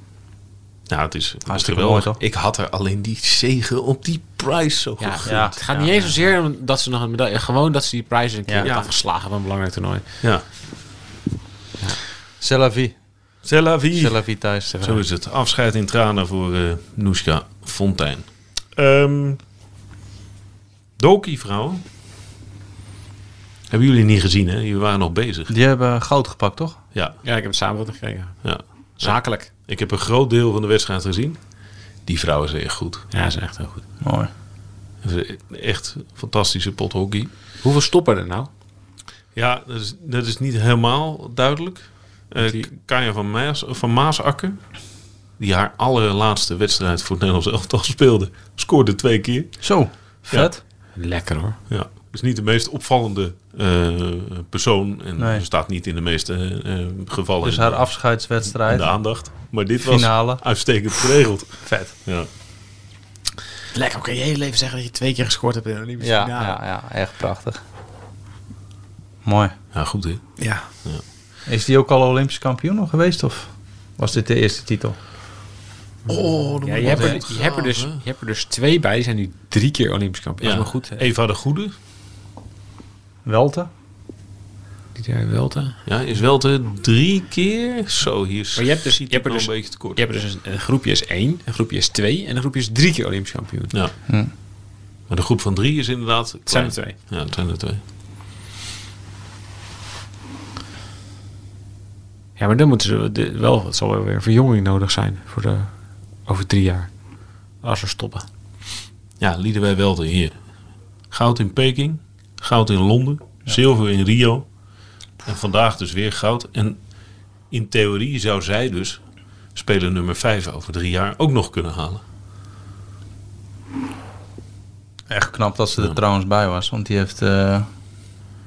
Speaker 1: Nou, het is
Speaker 2: Hartstikke
Speaker 1: geweldig.
Speaker 2: mooi, toch?
Speaker 1: Ik had er alleen die zegen op die prijs zo
Speaker 3: Ja,
Speaker 1: gegund.
Speaker 3: het gaat niet eens zozeer om dat ze nog een medaille... Gewoon dat ze die prijzen een keer
Speaker 2: Ja.
Speaker 3: heeft afgeslagen van een belangrijk toernooi.
Speaker 1: Ja.
Speaker 2: C'est la vie.
Speaker 1: C'est la vie.
Speaker 2: C'est la vie thuis.
Speaker 1: Zo is het. Afscheid in tranen voor eh Noeska Fontijn. Ehm Doki, vrouw. Hebben jullie niet gezien, hè? Jullie waren nog bezig.
Speaker 2: Die hebben goud gepakt, toch?
Speaker 1: Ja,
Speaker 3: Ja, ik heb het samenvatting gekregen.
Speaker 1: ja.
Speaker 3: Zakelijk.
Speaker 1: Ik heb een groot deel van de wedstrijd gezien. Die vrouw is echt goed.
Speaker 3: Ja, dat is echt heel goed.
Speaker 2: Mooi.
Speaker 1: Echt fantastische pothockey.
Speaker 3: Hoeveel stoppen er nou?
Speaker 1: Ja, dat is, dat is niet helemaal duidelijk. Eh
Speaker 3: Die-
Speaker 1: Kaya van, Maas, van Maasakker, die haar allerlaatste wedstrijd voor het Nederlands elftal speelde, scoorde twee keer.
Speaker 2: Zo. Vet.
Speaker 3: Lekker hoor.
Speaker 1: Ja, is niet de meest opvallende eh, persoon en
Speaker 2: Nee.
Speaker 1: staat niet in de meeste eh, eh, gevallen
Speaker 2: Dus haar
Speaker 1: in, in
Speaker 2: afscheidswedstrijd.
Speaker 1: de aandacht. Maar dit
Speaker 2: Finale.
Speaker 1: was uitstekend geregeld.
Speaker 2: Vet.
Speaker 1: Ja.
Speaker 3: Lekker, kan je hele leven zeggen dat je twee keer gescoord hebt in de Olympische
Speaker 2: Ja,
Speaker 3: finale.
Speaker 2: ja, ja, echt prachtig. Mooi.
Speaker 1: ja, goed hè.
Speaker 3: Ja.
Speaker 2: Is die ook al Olympisch kampioen nog geweest? Of was dit de eerste titel?
Speaker 1: Oh, dat
Speaker 3: je, hebt er, je, hebt er dus, je hebt er dus twee bij, die zijn nu drie keer Olympisch kampioen.
Speaker 1: Ja,
Speaker 3: Dat is maar goed. hè.
Speaker 1: Eva de Goede
Speaker 2: Welte?
Speaker 3: Die daar wel te.
Speaker 1: ja, is wel te drie keer. Zo, hier
Speaker 3: Maar je hebt dus, je
Speaker 1: schiet
Speaker 3: hebt er
Speaker 1: het
Speaker 3: dus,
Speaker 1: wel een beetje te kort.
Speaker 3: je hebt er dus een, een groepje is één, een groepje is twee en een groepje is drie keer Olympisch kampioen.
Speaker 1: Ja.
Speaker 2: Hm.
Speaker 1: Maar de groep van drie is inderdaad.
Speaker 3: Het zijn
Speaker 1: klein.
Speaker 3: er twee.
Speaker 1: Ja, het zijn er twee.
Speaker 3: Ja, maar dan moeten ze de- wel, het zal wel weer verjonging nodig zijn voor de, over drie jaar. Als we stoppen.
Speaker 1: Ja, Liederwij Welten hier. Goud in Peking, goud in Londen, zilver in Rio. En vandaag dus weer goud. En in theorie zou zij dus speler nummer 5 over drie jaar ook nog kunnen halen.
Speaker 2: Echt knap dat ze er trouwens bij was. Want die, heeft, eh,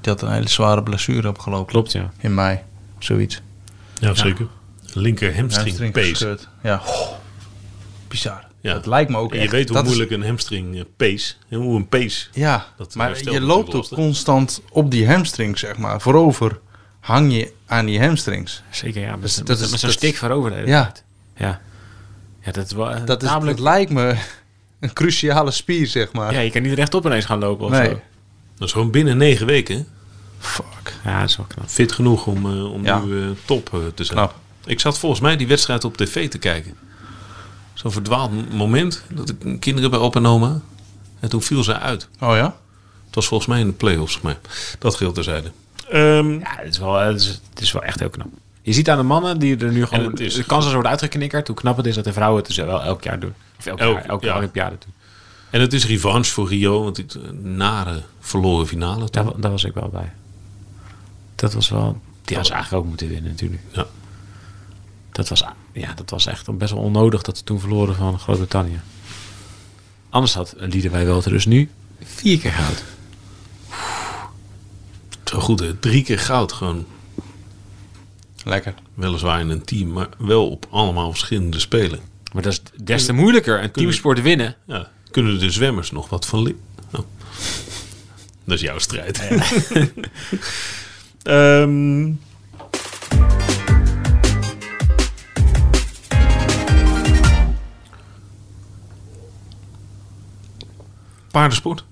Speaker 2: die had een hele zware blessure opgelopen.
Speaker 3: Klopt, ja.
Speaker 2: In mei. Zoiets.
Speaker 1: Ja, zeker. Linker hamstring
Speaker 2: Hamstring
Speaker 1: pace.
Speaker 2: gescheurd. Ja. Oh, bizar.
Speaker 1: Ja.
Speaker 2: Dat lijkt me ook
Speaker 1: En je
Speaker 2: echt-
Speaker 1: weet hoe
Speaker 2: dat is-
Speaker 1: moeilijk een hamstring eh, pace en hoe een pace.
Speaker 2: Ja,
Speaker 1: Dat
Speaker 2: maar
Speaker 1: herstelt
Speaker 2: je
Speaker 1: natuurlijk
Speaker 2: loopt ook
Speaker 1: lastig.
Speaker 2: constant op die hamstring, zeg maar. Voorover hang je aan die hamstrings.
Speaker 3: Zeker, ja. Met,
Speaker 2: Dus dat
Speaker 3: met-
Speaker 2: is-
Speaker 3: met zo'n
Speaker 2: dat-
Speaker 3: stik voorover. de hele
Speaker 2: Ja.
Speaker 3: tijd. ja. Ja, dat is wel
Speaker 2: Dat, is,
Speaker 3: namelijk.
Speaker 2: dat lijkt me een cruciale spier, zeg maar.
Speaker 3: ja, je kan niet rechtop ineens gaan lopen of
Speaker 2: nee.
Speaker 3: zo.
Speaker 1: Dat is gewoon binnen negen weken hè?
Speaker 2: Fuck.
Speaker 3: Ja, dat is wel knap.
Speaker 1: fit genoeg om, eh, om
Speaker 2: Ja.
Speaker 1: nu eh, top eh, te zijn.
Speaker 2: Knap.
Speaker 1: Ik zat volgens mij die wedstrijd op tv te kijken. Zo'n verdwaald m- moment dat ik kinderen bij op en oma. En En toen viel ze uit.
Speaker 2: Oh ja?
Speaker 1: Het was volgens mij in de play-offs. Maar dat geldt terzijde.
Speaker 3: Ja, het is, wel, eh, het, is, het is wel echt heel knap. Je ziet aan de mannen die er nu gewoon...
Speaker 1: het is-
Speaker 3: de kansen worden uitgeknikkerd. Hoe knap het is dat de vrouwen het dus wel elk jaar doen. Of elk,
Speaker 1: Elk-
Speaker 3: jaar, elke
Speaker 1: ja.
Speaker 3: Olympiade doen.
Speaker 1: En het is revanche voor Rio. Want dit eh, nare verloren finale.
Speaker 3: Daar,
Speaker 1: Toch?
Speaker 3: wa- daar was ik wel bij. Dat was wel... Die had ze eigenlijk ook moeten winnen natuurlijk.
Speaker 1: Ja.
Speaker 3: Dat was, ja, dat was echt best wel onnodig dat ze toen verloren van Groot-Brittannië. Anders had Liederwij wel het dus nu vier keer goud.
Speaker 1: Zo goed, hè? drie keer goud gewoon.
Speaker 2: Lekker.
Speaker 1: Weliswaar in een team, maar wel op allemaal verschillende spelen.
Speaker 3: Maar dat is des te moeilijker. Een teamsport winnen.
Speaker 1: Ja. Kunnen de zwemmers nog wat van lip? Oh. Dat is jouw strijd. Ehm, Paardensport.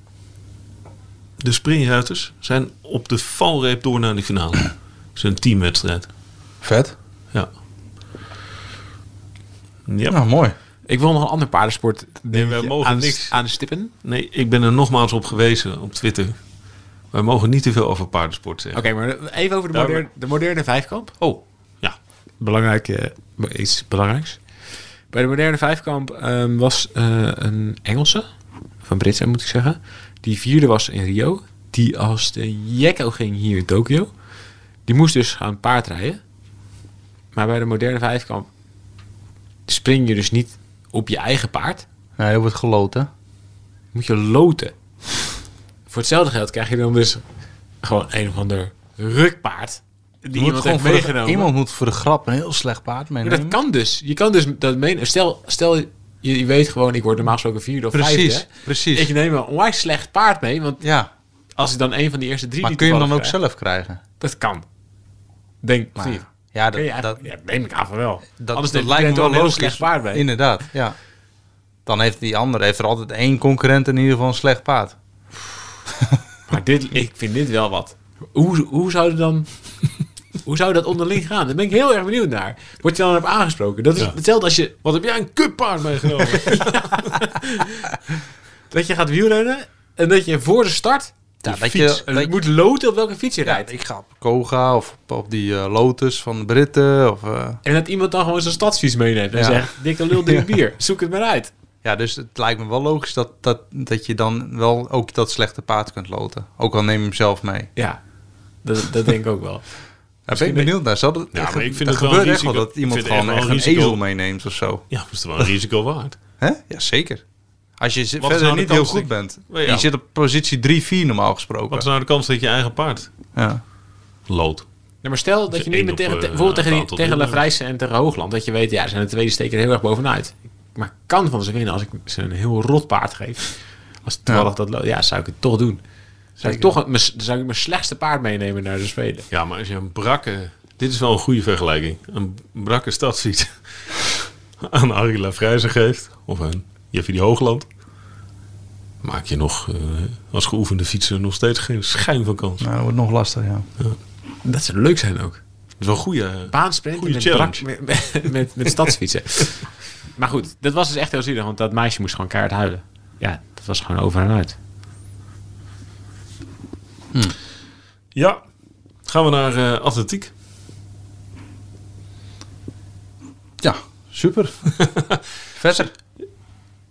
Speaker 1: De springruiters zijn op de valreep door naar de finale. Het is een teamwedstrijd.
Speaker 2: Vet.
Speaker 1: Ja. Ja.
Speaker 2: Nou, mooi.
Speaker 3: Ik wil nog een ander paardensport
Speaker 1: Nee, wij mogen
Speaker 3: aan,
Speaker 1: niks.
Speaker 3: aan stippen.
Speaker 1: Nee, ik ben er nogmaals op gewezen op Twitter. Wij mogen niet te veel over paardensport zeggen.
Speaker 3: Oké, maar even over de,
Speaker 1: Ja,
Speaker 3: moderne,
Speaker 1: maar-
Speaker 3: de moderne vijfkamp.
Speaker 1: Oh, ja.
Speaker 3: Belangrijk, eh, iets belangrijks. Bij de moderne vijfkamp ehm, was eh, een Engelse, van Britse moet ik zeggen, die vierde was in Rio. Die als de jekko ging hier in Tokio. Die moest dus gaan paardrijden. Maar bij de moderne vijfkamp spring je dus niet op je eigen paard.
Speaker 2: Nee, dat wordt geloten.
Speaker 3: moet je loten. Voor hetzelfde geld krijg je dan dus gewoon een of ander rukpaard. Die iemand heeft meegenomen.
Speaker 2: iemand moet voor de grap een heel slecht paard
Speaker 3: Maar
Speaker 2: meenemen.
Speaker 3: dat kan dus. Je kan dus dat meen. Stel, stel je, je weet gewoon, ik word normaal gesproken vierde of
Speaker 2: Precies,
Speaker 3: vijfde.
Speaker 2: precies.
Speaker 3: Ik neem een onwijs slecht paard mee. Want
Speaker 2: Ja,
Speaker 3: als ik dan een van die eerste drie
Speaker 2: maar
Speaker 3: die
Speaker 2: kun je hem dan ook
Speaker 3: toevallig
Speaker 2: zelf krijgen?
Speaker 3: krijg, Dat kan. Denk
Speaker 2: Maar-
Speaker 3: niet.
Speaker 2: ja,
Speaker 3: Kun je
Speaker 2: dat, dat,
Speaker 3: eigenlijk- ja, neem ik aan van wel.
Speaker 2: dat, dat
Speaker 3: Anders neemt iedereen
Speaker 2: lijkt me
Speaker 3: toch
Speaker 2: wel
Speaker 3: een heel
Speaker 2: logisch.
Speaker 3: slecht paard mee.
Speaker 2: Inderdaad, ja. Dan heeft die andere heeft er altijd één concurrent in ieder geval een slecht paard.
Speaker 3: Maar dit, ik vind dit wel wat. Hoe, hoe zou dat dan... Hoe zou dat onderling gaan? Daar ben ik heel erg benieuwd naar. Word je dan op aangesproken? Dat is
Speaker 1: Ja.
Speaker 3: hetzelfde als je,
Speaker 1: Wat heb jij een kutpaard meegenomen?
Speaker 3: dat je gaat wielrennen en dat je voor de start
Speaker 2: Ja, dat
Speaker 3: fiets,
Speaker 2: je-
Speaker 3: en
Speaker 2: dat-
Speaker 3: moet loten op welke fiets je
Speaker 2: Ja,
Speaker 3: rijdt.
Speaker 2: ik ga op Koga of op, op die eh, Lotus van de Britten. Of, eh,
Speaker 3: En dat iemand dan gewoon zijn stadsfiets meeneemt en
Speaker 2: Ja.
Speaker 3: zegt, dikke lul, dik bier, zoek het maar uit.
Speaker 2: Ja, dus het lijkt me wel logisch dat, dat, dat je dan wel ook dat slechte paard kunt loten. Ook al neem je hem zelf mee.
Speaker 3: Ja, dat, dat denk ik ook wel.
Speaker 2: Daar ben ik benieuwd naar. Zal dat,
Speaker 1: Ja,
Speaker 2: echt-
Speaker 1: maar ik vind
Speaker 2: er
Speaker 1: het wel
Speaker 2: gebeurt
Speaker 1: een
Speaker 2: echt wel
Speaker 1: risico.
Speaker 2: dat iemand
Speaker 1: Ik vind het
Speaker 2: gewoon
Speaker 1: echt
Speaker 2: echt
Speaker 1: wel
Speaker 2: een
Speaker 1: een risico.
Speaker 2: ezel meeneemt of zo.
Speaker 1: ja, dat is wel een risico waard.
Speaker 2: Hè? Ja, zeker. Als je z-
Speaker 1: is
Speaker 2: verder
Speaker 1: nou de
Speaker 2: niet heel
Speaker 1: kans,
Speaker 2: goed
Speaker 1: ik-
Speaker 2: bent.
Speaker 1: Ja.
Speaker 2: Je zit op positie 3-4 normaal
Speaker 1: Wat is
Speaker 2: gesproken.
Speaker 1: nou de kans dat je eigen paard
Speaker 2: Ja.
Speaker 1: loodt?
Speaker 3: Ja, maar stel dat
Speaker 1: je
Speaker 3: je nu
Speaker 1: één
Speaker 3: met
Speaker 1: op,
Speaker 3: tegen,
Speaker 1: eh,
Speaker 3: te- bijvoorbeeld tegen, die,
Speaker 1: aantal
Speaker 3: tegen
Speaker 1: wielrenners.
Speaker 3: Levrijsen en tegen Hoogland, dat je weet, ja, ze zijn de tweede steken er heel erg bovenuit. Maar ik kan van ze winnen als ik ze een heel rot paard geef. Als het toevallig dat lo- ja, zou ik het toch doen. Zou ik toch een- mijn, zou ik mijn slechtste paard meenemen naar de Spelen?
Speaker 1: Ja, maar als je een brakke... Dit is wel een goede vergelijking. Een brakke stadsfiets aan Arie Lafrijzen geeft... of aan Jeffrey Hoogland... maak je nog eh, als geoefende fietser nog steeds geen schijn van kans.
Speaker 2: Nou, dat wordt nog lastig, ja.
Speaker 3: Dat zou leuk zijn ook.
Speaker 1: Dat is wel een goede... eh,
Speaker 3: Baansprinten
Speaker 1: Goeie
Speaker 3: met,
Speaker 1: challenge.
Speaker 3: brak- met, met, met, met stadsfietsen. maar goed, dat was dus echt heel zielig, want dat meisje moest gewoon keihard huilen. Ja, dat was gewoon over en uit.
Speaker 1: Ja, gaan we naar eh, atletiek.
Speaker 2: Ja, super. verder.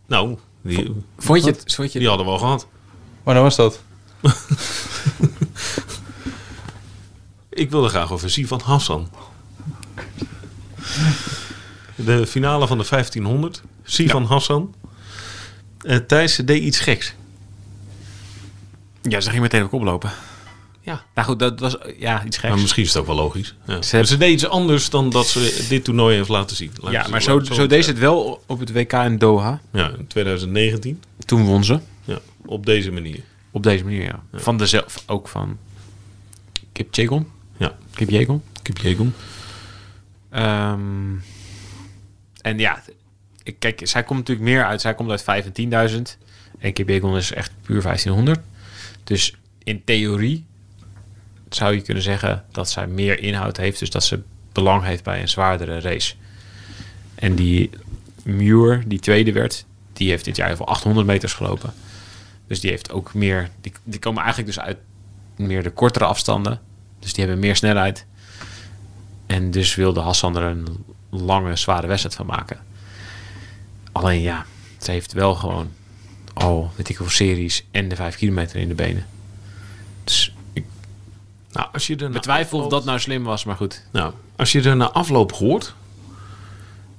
Speaker 1: Nou, die,
Speaker 3: Vond je het? Vond je
Speaker 1: die hadden we al gehad.
Speaker 2: Waar was dat?
Speaker 1: Ik wilde graag over Sivan Hassan. De finale van de 1500. Sivan Hassan. Eh Thijs deed iets geks.
Speaker 3: Ja, ze ging meteen ook oplopen.
Speaker 1: Ja.
Speaker 3: Nou goed, dat was ja, iets
Speaker 1: Maar
Speaker 3: geks.
Speaker 1: Nou, misschien is het ook wel logisch. Ja.
Speaker 3: Ze hebben-
Speaker 1: Ze deed iets anders dan dat ze dit toernooi heeft laten zien. Laat
Speaker 3: ja,
Speaker 1: ik
Speaker 3: maar zo,
Speaker 1: laat ik
Speaker 3: zo deed ze het wel op het WK in Doha.
Speaker 1: Ja, in 2019.
Speaker 3: Toen won ze.
Speaker 1: Ja, op deze manier.
Speaker 3: Op deze manier, ja. Van dezelfde, ook van Kipchegon.
Speaker 1: Ja.
Speaker 3: Kipjegon.
Speaker 1: Kipjegum.
Speaker 3: Ehm, en ja, ik- kijk, zij komt natuurlijk meer uit. Zij komt uit 5 en 10.000. En Kipjegon is echt puur 1500. Dus in theorie zou je kunnen zeggen dat zij meer inhoud heeft. Dus dat ze belang heeft bij een zwaardere race. En die Muir, die tweede werd, die heeft dit jaar heel veel 800 meters gelopen. Dus die heeft ook meer. Die, die komen eigenlijk dus uit meer de kortere afstanden. Dus die hebben meer snelheid. En dus wilde Hassan er een lange, zware wedstrijd van maken. Alleen ja, ze heeft wel gewoon al weet ik hoeveel series en de 5 kilometer in de benen. Dus ik
Speaker 1: Nou, als je er na
Speaker 3: betwijfel of
Speaker 1: afloop-
Speaker 3: dat nou slim was, maar goed.
Speaker 1: Nou, als je er na afloop hoort,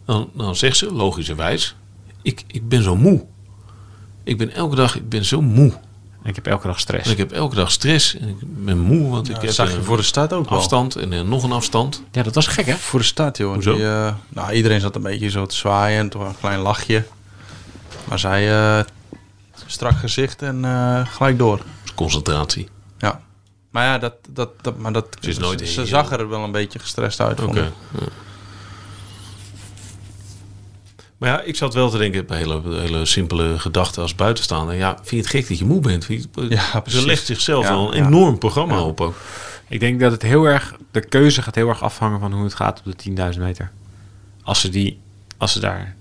Speaker 1: dan, dan zegt ze logischerwijs: ik, ik ben zo moe. Ik ben elke dag ik ben zo moe.
Speaker 3: Ik heb elke dag
Speaker 1: En
Speaker 3: stress.
Speaker 1: ik heb elke dag stress en ik ben moe, want ik heb
Speaker 2: dat zag je
Speaker 1: een
Speaker 2: voor de start ook wel.
Speaker 1: afstand en eh, nog een afstand.
Speaker 3: Ja, dat was gek hè?
Speaker 2: Voor de start, joh.
Speaker 1: Hoezo?
Speaker 2: Die, eh, nou, iedereen zat een beetje zo te zwaaien en toch een klein lachje. Maar zij eh, strak gezicht en eh, gelijk door.
Speaker 1: Dat is concentratie.
Speaker 2: Ja. Maar ja, dat, dat, dat, maar dat,
Speaker 1: Ze is nooit
Speaker 2: ze,
Speaker 1: heel-
Speaker 2: zag er wel een beetje gestrest uit.
Speaker 1: Oké.
Speaker 2: vond ik.
Speaker 1: ja. Maar ja, ik zat wel te denken bij hele, hele simpele gedachten als buitenstaander. Ja, vind je het gek dat je moe bent? Vind je-
Speaker 2: Ja,
Speaker 1: Ze
Speaker 2: precies.
Speaker 1: legt zichzelf
Speaker 2: Ja,
Speaker 1: al een
Speaker 2: ja.
Speaker 1: enorm programma op ook.
Speaker 3: Ik denk dat het heel erg, de keuze gaat heel erg afhangen van hoe het gaat op de 10.000 meter. Als ze, die, als ze daar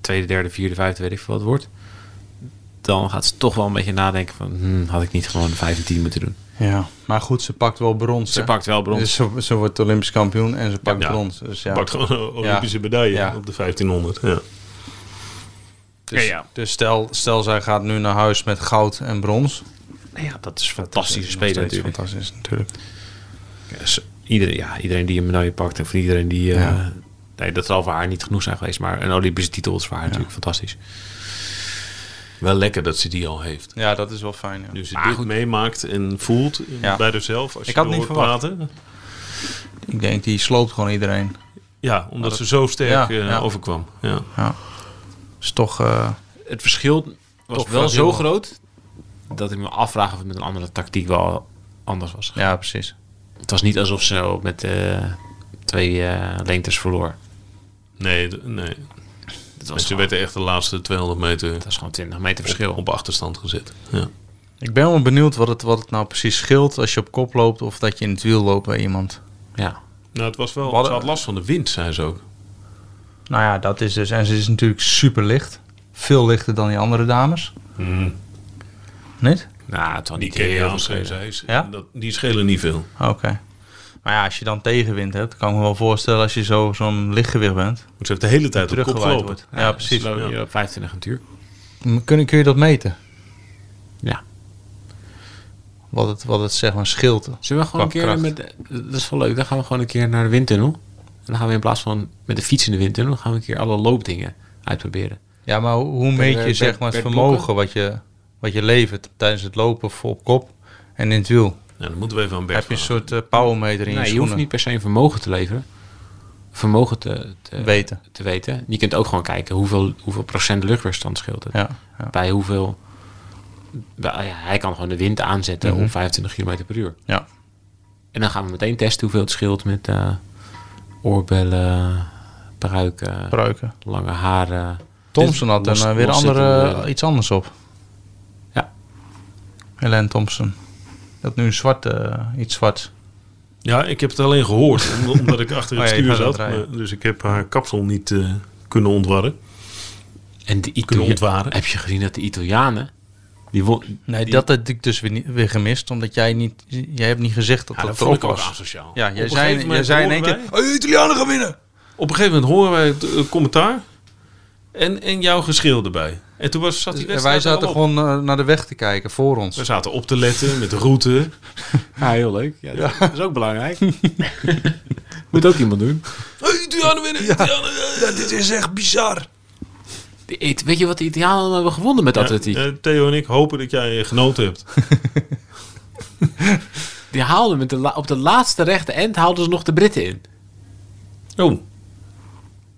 Speaker 3: tweede, derde, vierde, vijfde, weet ik veel wat wordt. Dan gaat ze toch wel een beetje nadenken van, hmm, had ik niet gewoon de 5 en 10 moeten doen.
Speaker 2: Ja. Maar goed, ze pakt wel brons.
Speaker 3: Ze
Speaker 2: hè?
Speaker 3: pakt wel brons.
Speaker 2: Dus ze, ze wordt Olympisch kampioen en ze pakt
Speaker 1: Ja.
Speaker 2: brons. Dus ja.
Speaker 1: Pakt gewoon een Olympische medaille
Speaker 2: Ja.
Speaker 1: op de 1500. Ja.
Speaker 2: Dus,
Speaker 3: Ja, ja.
Speaker 2: dus stel, stel, zij gaat nu naar huis met goud en brons.
Speaker 3: Nou ja, dat is fantastische
Speaker 2: Dat is
Speaker 3: speler
Speaker 2: nog steeds
Speaker 3: natuurlijk.
Speaker 2: Fantastisch, natuurlijk.
Speaker 3: Ze- Dus Iedereen, ja, iedereen die een medaille pakt en voor iedereen die... eh,
Speaker 2: Ja.
Speaker 3: Nee, dat zal voor haar niet genoeg zijn geweest. Maar een Olympische titel is voor haar natuurlijk fantastisch.
Speaker 1: Wel lekker dat ze die al heeft.
Speaker 2: Ja, dat is wel fijn. Ja.
Speaker 1: Nu ze
Speaker 3: Maar
Speaker 1: Dus dit
Speaker 3: goed.
Speaker 1: meemaakt en voelt in-
Speaker 2: Ja.
Speaker 1: bij zichzelf. Als
Speaker 2: Ik
Speaker 1: je
Speaker 2: had
Speaker 1: er
Speaker 2: niet
Speaker 1: hoort
Speaker 2: verwacht.
Speaker 1: praten.
Speaker 2: Ik denk, die sloopt gewoon iedereen.
Speaker 1: Ja, omdat ze zo
Speaker 2: Ja,
Speaker 1: sterk eh,
Speaker 2: ja.
Speaker 1: overkwam. Ja.
Speaker 2: Ja. Is toch... eh,
Speaker 3: het verschil was
Speaker 2: Toch
Speaker 3: wel
Speaker 2: wel
Speaker 3: zo
Speaker 2: heel-
Speaker 3: groot dat ik me afvraag of het met een andere tactiek wel anders was.
Speaker 2: ja, precies.
Speaker 3: Het was niet alsof ze nou met eh, twee eh, lengtes verloor.
Speaker 1: Nee, d- nee.
Speaker 3: Het
Speaker 1: Want
Speaker 3: was,
Speaker 1: ze
Speaker 3: gewoon,
Speaker 1: werd echt de laatste 200 meter
Speaker 3: het was gewoon 20 meter verschil.
Speaker 1: op, op achterstand gezet. Ja.
Speaker 2: Ik ben wel benieuwd wat het, wat het nou precies scheelt als je op kop loopt of dat je in het wiel loopt bij iemand.
Speaker 3: Ja.
Speaker 1: Nou, het was wel,
Speaker 2: Wat-
Speaker 1: ze had last van de wind, zei ze ook.
Speaker 2: Nou ja, dat is dus. En ze is natuurlijk super licht. Veel lichter dan die andere dames. Niet?
Speaker 3: Nou, het was
Speaker 1: Die
Speaker 3: niet heel
Speaker 1: Keniaans,
Speaker 3: veel
Speaker 1: zei
Speaker 3: schelen.
Speaker 1: ze,
Speaker 2: Ja?
Speaker 1: dat, die schelen niet veel.
Speaker 2: Oké. Maar ja, als je dan tegenwind hebt, kan ik me wel voorstellen als je zo, zo'n lichtgewicht bent.
Speaker 1: Want ze heeft de hele tijd op kop
Speaker 2: Teruggewaaid
Speaker 1: gelopen.
Speaker 2: wordt. Ja,
Speaker 3: Ze
Speaker 2: precies.
Speaker 3: sloot
Speaker 1: Ja.
Speaker 3: hier op 25 een tuur.
Speaker 2: Kun, kun je dat meten?
Speaker 3: Ja.
Speaker 2: Wat het, wat het zeg maar scheelt.
Speaker 3: Zullen we gewoon een
Speaker 2: Qua
Speaker 3: keer
Speaker 2: kracht.
Speaker 3: met... Dat is wel leuk. Dan gaan we gewoon een keer naar de windtunnel. En dan gaan we in plaats van met de fiets in de windtunnel... gaan we een keer alle loopdingen uitproberen.
Speaker 2: Ja, maar hoe- hoe meet
Speaker 3: eh,
Speaker 2: je
Speaker 3: per-
Speaker 2: zeg maar het
Speaker 3: per
Speaker 2: vermogen wat je, wat je levert tijdens het lopen voor op kop en in het wiel?
Speaker 1: Ja, dan moeten we even aan Bert
Speaker 2: Heb je een
Speaker 1: vragen.
Speaker 2: soort eh, powermeter in je
Speaker 3: Nee, je
Speaker 2: schoenen?
Speaker 3: hoeft niet per se een vermogen te leveren. Vermogen te, te
Speaker 2: Weten.
Speaker 3: te weten. Je kunt ook gewoon kijken hoeveel, hoeveel procent luchtweerstand scheelt het.
Speaker 2: Ja, ja,
Speaker 3: Bij hoeveel... bij- ja, hij kan gewoon de wind aanzetten
Speaker 2: Mhm.
Speaker 3: op 25 km per uur.
Speaker 2: ja.
Speaker 3: En dan gaan we meteen testen hoeveel het scheelt met eh, oorbellen, pruiken,
Speaker 2: Pruiken.
Speaker 3: lange haren.
Speaker 2: Thompson had
Speaker 3: Los-
Speaker 2: dan eh, weer
Speaker 3: loszittende-
Speaker 2: andere, iets anders op.
Speaker 3: Ja.
Speaker 2: Helen Thompson. Dat nu een zwart, eh, iets zwart.
Speaker 1: Ja, ik heb het alleen gehoord, om- omdat ik achter het
Speaker 2: Oh ja, je
Speaker 1: stuur
Speaker 2: gaat
Speaker 1: zat.
Speaker 2: aan het rijden.
Speaker 1: maar- dus ik heb haar kapsel niet eh, kunnen ontwarren.
Speaker 3: En de
Speaker 1: Kunnen
Speaker 3: Italianen.
Speaker 1: ontwaren.
Speaker 3: Heb je gezien dat de Italianen... Die won-
Speaker 2: Nee, dat had ik dus weer, niet, weer gemist, omdat jij niet, jij hebt niet gezegd dat
Speaker 1: Ja,
Speaker 2: dat,
Speaker 1: dat vond
Speaker 2: erop
Speaker 1: ik ook
Speaker 2: was.
Speaker 1: asociaal.
Speaker 2: Ja,
Speaker 1: Op een
Speaker 2: jij zei,
Speaker 1: gegeven
Speaker 2: jij
Speaker 1: moment
Speaker 2: zei in één
Speaker 1: horen
Speaker 2: keer,
Speaker 1: wij-
Speaker 2: oh, Italianen gaan winnen!
Speaker 1: Op een gegeven moment horen wij het eh, commentaar en, en jouw geschreeuw erbij. En toen was, zat die
Speaker 2: Dus, En
Speaker 1: wedstrijd
Speaker 2: wij
Speaker 1: er
Speaker 2: zaten
Speaker 1: al op. Dus-
Speaker 2: gewoon eh, naar de weg te kijken, voor ons.
Speaker 1: We zaten op te letten met de route.
Speaker 3: Ja, heel leuk. Ja, dat- Dat is ook belangrijk. Moet ook iemand doen.
Speaker 1: Hey, Diana winnen! dit is echt bizar.
Speaker 3: De It- weet je wat de Italianen hebben gewonnen met atletiek?
Speaker 1: Eh, Theo en ik hopen dat jij eh, genoten hebt.
Speaker 3: Die haalden met de la- op de laatste rechte end haalden ze nog de Britten in.
Speaker 1: Oh,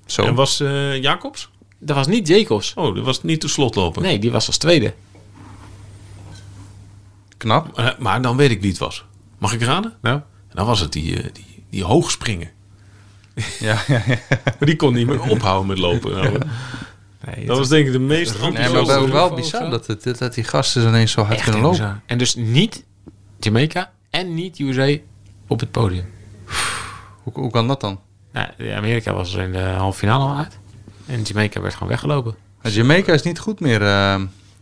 Speaker 2: Zo.
Speaker 1: en was eh, Jacobs?
Speaker 3: Dat was niet Jacobs.
Speaker 1: Oh, dat was niet de slotloper.
Speaker 3: Nee, die was als tweede.
Speaker 2: Knap.
Speaker 1: Eh, maar dan weet ik wie het was. Mag ik raden?
Speaker 3: Nou?
Speaker 1: En dan was het die, eh, die, die hoogspringen.
Speaker 2: Ja, ja, ja.
Speaker 1: Maar die kon niet meer ophouden met lopen. Nou,
Speaker 3: Nee,
Speaker 1: dat was denk ik de meest
Speaker 2: Nee, maar wel,
Speaker 1: enthousiaste.
Speaker 2: wel bizar dat, het, dat die gasten zo ineens zo hard kunnen lopen.
Speaker 3: En dus niet Jamaica en niet USA op het podium.
Speaker 2: Hoe, hoe kan dat dan?
Speaker 3: Nou, de Amerika was er in de halve finale al uit. En Jamaica werd gewoon weggelopen.
Speaker 2: Maar Jamaica is niet goed meer. eh,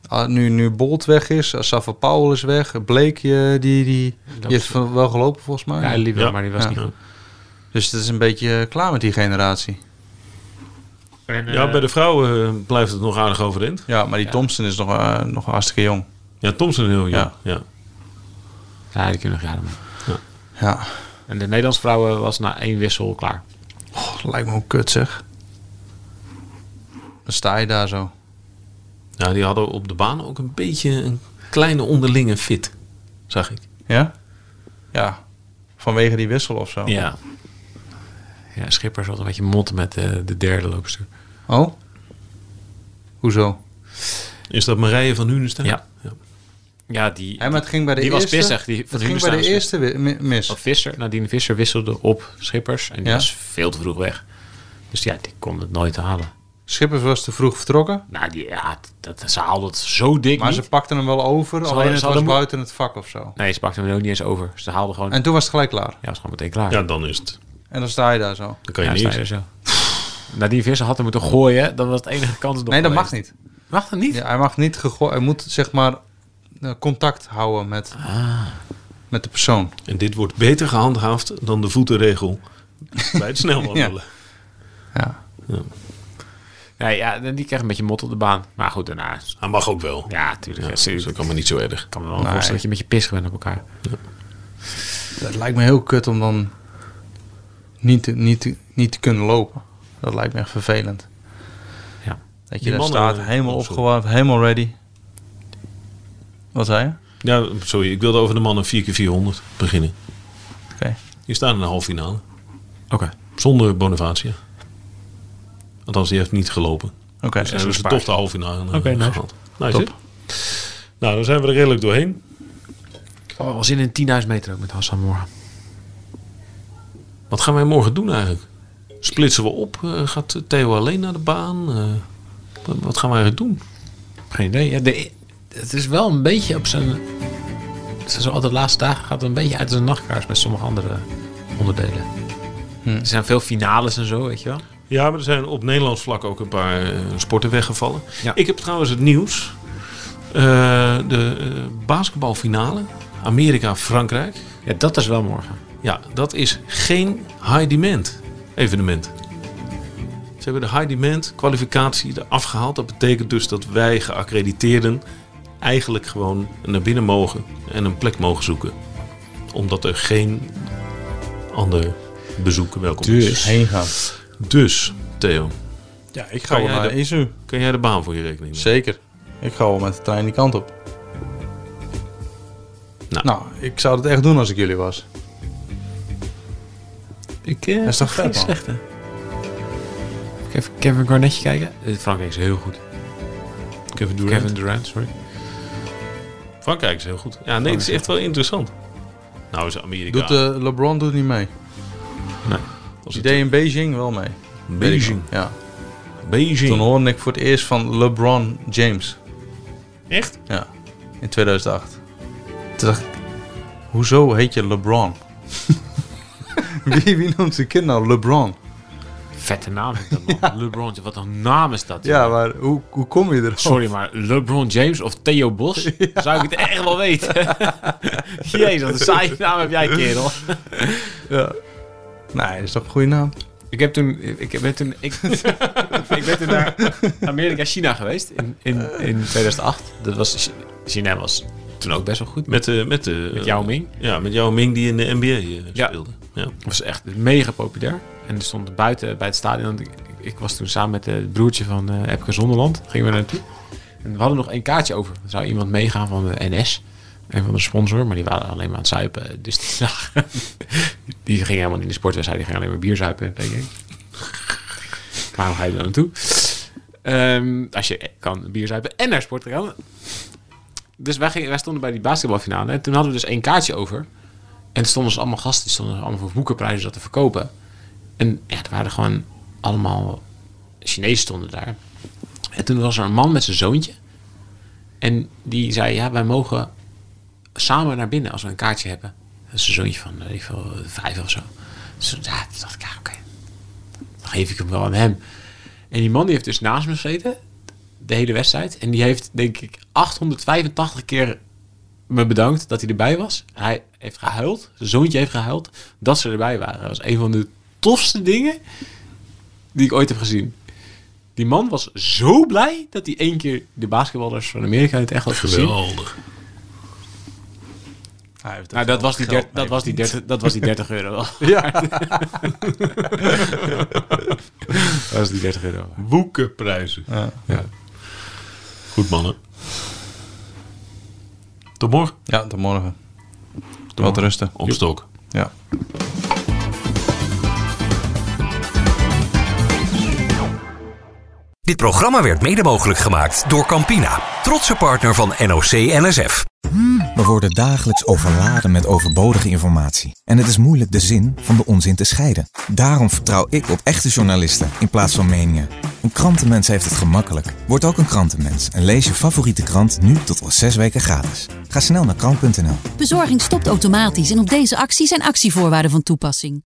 Speaker 2: Ah, nu, nu Bolt weg is, Safa Paul is weg, Bleekje, die, die, die heeft van- wel gelopen volgens mij.
Speaker 3: Ja, liever,
Speaker 1: Ja.
Speaker 3: maar die was
Speaker 2: Ja.
Speaker 3: niet goed.
Speaker 2: Dus het is een beetje eh, klaar met die generatie.
Speaker 1: ja, bij de vrouwen eh, blijft het nog aardig overeind.
Speaker 2: Ja, maar die Thompson is nog, eh, nog hartstikke jong.
Speaker 1: Ja, Thompson heel jong.
Speaker 2: Ja.
Speaker 1: Ja.
Speaker 3: Ja, die kunnen nog jaren mee.
Speaker 2: Ja,
Speaker 3: En de Nederlandse vrouwen was na één wissel klaar.
Speaker 2: Oh, dat lijkt me ook kut zeg. Dan sta je daar zo.
Speaker 1: Ja, die hadden op de baan ook een beetje een kleine onderlinge fit, zag ik.
Speaker 2: Ja? Ja. Vanwege die wissel of zo.
Speaker 1: Ja.
Speaker 3: Ja, Schipper zat een beetje mot met eh, de derde loopster.
Speaker 2: Oh? Hoezo?
Speaker 1: Is dat Marije van Hunestein?
Speaker 3: Ja. Ja, die,
Speaker 2: Hé, maar het ging bij de
Speaker 3: die was
Speaker 2: eerste...
Speaker 3: pissig. Die,
Speaker 2: Het ging bij de eerste wi- mi- mis.
Speaker 3: Of Visser, Nadine Visser wisselde op Schippers. En die
Speaker 2: Ja.
Speaker 3: was veel te vroeg weg. Dus ja, die kon het nooit halen.
Speaker 2: Schippers was te vroeg vertrokken.
Speaker 3: Nou, die, ja, dat, ze haalde het zo dik
Speaker 2: Maar
Speaker 3: niet.
Speaker 2: ze pakten hem wel over.
Speaker 3: hadden-
Speaker 2: Alleen het
Speaker 3: ze
Speaker 2: was
Speaker 3: hadden mo-
Speaker 2: buiten het vak of zo.
Speaker 3: Nee, ze pakte hem er ook niet eens over. Ze haalde gewoon...
Speaker 2: En toen was het gelijk klaar.
Speaker 3: Ja, was gewoon meteen klaar.
Speaker 1: Ja, dan is het.
Speaker 2: En dan sta je daar zo.
Speaker 1: Dan kan je
Speaker 3: Ja, sta je er
Speaker 1: niks.
Speaker 3: zo. Nadine Visser had hem moeten gooien. Dat was het enige kans nog
Speaker 2: Nee, dat mag
Speaker 3: geweest.
Speaker 2: niet.
Speaker 3: Mag dat niet?
Speaker 2: Ja, hij mag niet gegooid. Hij moet zeg maar eh, contact houden met, Ah. met de persoon.
Speaker 1: En dit wordt beter gehandhaafd dan de voetenregel bij het snelwandelen.
Speaker 2: Ja.
Speaker 3: Nee, ja, die kreeg een beetje mot op de baan. Maar goed, daarna...
Speaker 1: Hij mag ook wel.
Speaker 3: Ja, tuurlijk.
Speaker 1: Ja,
Speaker 3: Ja,
Speaker 1: dat is ook allemaal niet zo erg.
Speaker 3: Ik kan me wel voorstellen dat je een beetje pissig bent op elkaar.
Speaker 2: Dat lijkt me heel kut om dan niet, te- niet, te- niet te kunnen lopen. Dat lijkt me echt vervelend.
Speaker 3: Ja.
Speaker 2: Dat je
Speaker 1: Die
Speaker 2: daar
Speaker 1: mannen-
Speaker 2: staat, helemaal
Speaker 1: oh, sorry.
Speaker 2: opgewarmd, helemaal ready. Wat zei je?
Speaker 1: Ja, sorry, ik wilde over de mannen 4x400 beginnen.
Speaker 2: Oké.
Speaker 1: Die staan in de halve finale.
Speaker 3: Oké.
Speaker 1: Zonder Bonavacia. Althans, die heeft niet gelopen.
Speaker 2: Oké.
Speaker 1: Dus hebben ze toch de halve finale eh,
Speaker 3: Oké, nice.
Speaker 1: gehaald. Nice, hè? Nou, dan zijn we er redelijk doorheen.
Speaker 3: Oh, was in een 10.000 meter ook met Hassan morgen.
Speaker 1: Wat gaan wij morgen doen eigenlijk? Splitsen we op? Eh, gaat Theo alleen naar de baan? Eh, wat, wat gaan wij eigenlijk doen?
Speaker 3: Geen idee. Ja, de, het is wel een beetje op zijn... Zoals altijd de laatste dagen gaat het een beetje uit zijn nachtkaars met sommige andere onderdelen. Er zijn veel finales en zo, weet je wel.
Speaker 1: Ja, maar er zijn op Nederlands vlak ook een paar eh, sporten weggevallen.
Speaker 3: Ja.
Speaker 1: Ik heb trouwens het nieuws. Eh, de eh, basketbalfinale Amerika-Frankrijk.
Speaker 3: Ja, dat is wel morgen.
Speaker 1: Ja, dat is geen high demand evenement. Ze hebben de high demand kwalificatie eraf gehaald. Dat betekent dus dat wij geaccrediteerden eigenlijk gewoon naar binnen mogen en een plek mogen zoeken. Omdat er geen ander bezoek welkom is.
Speaker 2: Heen gaan.
Speaker 1: Dus, Theo,
Speaker 2: Ja, ik
Speaker 1: Kan
Speaker 2: ga wel
Speaker 1: jij
Speaker 2: naar
Speaker 1: de-
Speaker 2: ISU.
Speaker 1: kun jij de baan voor je rekening nemen?
Speaker 2: Zeker. Ik ga wel met de trein die kant op.
Speaker 1: Nou.
Speaker 2: Nou. ik zou dat echt doen als ik jullie was.
Speaker 3: Ik,
Speaker 2: Dat is toch vet, man?
Speaker 3: Even Kevin Garnetje kijken. Eh, Frankrijk is heel goed.
Speaker 1: Kevin Durant.
Speaker 3: Kevin Durant, sorry.
Speaker 1: Frankrijk is heel goed. Ja, nee, het is echt wel interessant. Nou is Amerika.
Speaker 2: Doet, eh, LeBron doet niet mee.
Speaker 1: als
Speaker 2: Die
Speaker 1: het
Speaker 2: deed in Beijing wel mee.
Speaker 1: Beijing.
Speaker 2: Ja. Toen
Speaker 1: Beijing.
Speaker 2: hoorde ik voor het eerst van LeBron James.
Speaker 1: Echt?
Speaker 2: Ja. In 2008. Toen dacht ik, hoezo heet je LeBron? wie, wie noemt zijn kind nou LeBron?
Speaker 3: Vette naam heb ik dat, man. LeBron, wat een naam is dat?
Speaker 2: Ja, maar hoe, hoe kom je erop?
Speaker 3: Sorry, maar LeBron James of Theo Bos? Zou ik het echt wel weten? Jezus, wat een saaie naam heb jij, kerel.
Speaker 2: Ja. Nee, dat is toch een goede naam?
Speaker 3: Ik heb toen, ik ben toen, ik, ik ben toen naar Amerika, China geweest in, in, in 2008. Dat was, China was toen ook best wel goed.
Speaker 1: Met, eh met, eh,
Speaker 3: Met Yao Ming.
Speaker 1: Ja, met Yao Ming die in de NBA eh,
Speaker 3: Ja.
Speaker 1: speelde. Ja.
Speaker 3: Dat was echt mega populair. En er stond buiten bij het stadion. want Ik, ik was toen samen met eh, het broertje van eh Epke Zonderland. Gingen we naartoe. En we hadden nog één kaartje over. Er zou iemand meegaan van de NS. Een van de sponsor. Maar die waren alleen maar aan het zuipen. Dus die, zagen- die ging helemaal niet in de sportwedstrijd. Die ging alleen maar bier zuipen. Denk ik. Waarom ga je daar naartoe? Ehm, als je kan bier zuipen en naar sport gaan. Dus wij, gingen, wij stonden bij die basketbalfinale. En toen hadden we dus één kaartje over. En er stonden dus allemaal gasten, die stonden allemaal voor boekenprijzen dat te verkopen. En ja, er waren gewoon allemaal Chinezen stonden daar. En toen was er een man met zijn zoontje. En die zei, ja, wij mogen samen naar binnen als we een kaartje hebben. Dat is een zoontje van, weet ik veel, vijf of zo. Dus ja, toen dacht ik, ja, oké. Dan geef ik hem wel aan hem. En die man die heeft dus naast me gezeten. de hele wedstrijd. En die heeft, denk ik, 885 keer me bedankt dat hij erbij was. Hij heeft gehuild. Zijn zoontje heeft gehuild dat ze erbij waren. Dat was een van de tofste dingen die ik ooit heb gezien. Die man was zo blij dat hij één keer de basketballers van Amerika in het echt had gezien.
Speaker 1: Geweldig.
Speaker 2: Hij heeft
Speaker 3: Nou, dat was, die
Speaker 2: geld
Speaker 3: 30, dat, was die 30, dat was die 30 euro wel.
Speaker 2: Ja,
Speaker 3: Dat was die 30 euro.
Speaker 1: Woekenprijzen.
Speaker 2: Ja.
Speaker 3: Ja.
Speaker 1: Goed mannen. Tot morgen.
Speaker 2: ja tot morgen. Wat rusten.
Speaker 1: Op stok.
Speaker 2: Ja.
Speaker 4: Dit programma werd mede mogelijk gemaakt door Campina, trotse partner van NOC NSF.
Speaker 5: We worden dagelijks overladen met overbodige informatie. En het is moeilijk de zin van de onzin te scheiden. Daarom vertrouw ik op echte journalisten in plaats van meningen. Een krantenmens heeft het gemakkelijk. Word ook een krantenmens en lees je favoriete krant nu tot al zes weken gratis. Ga snel naar krant.nl.
Speaker 6: Bezorging stopt automatisch en op deze actie zijn actievoorwaarden van toepassing.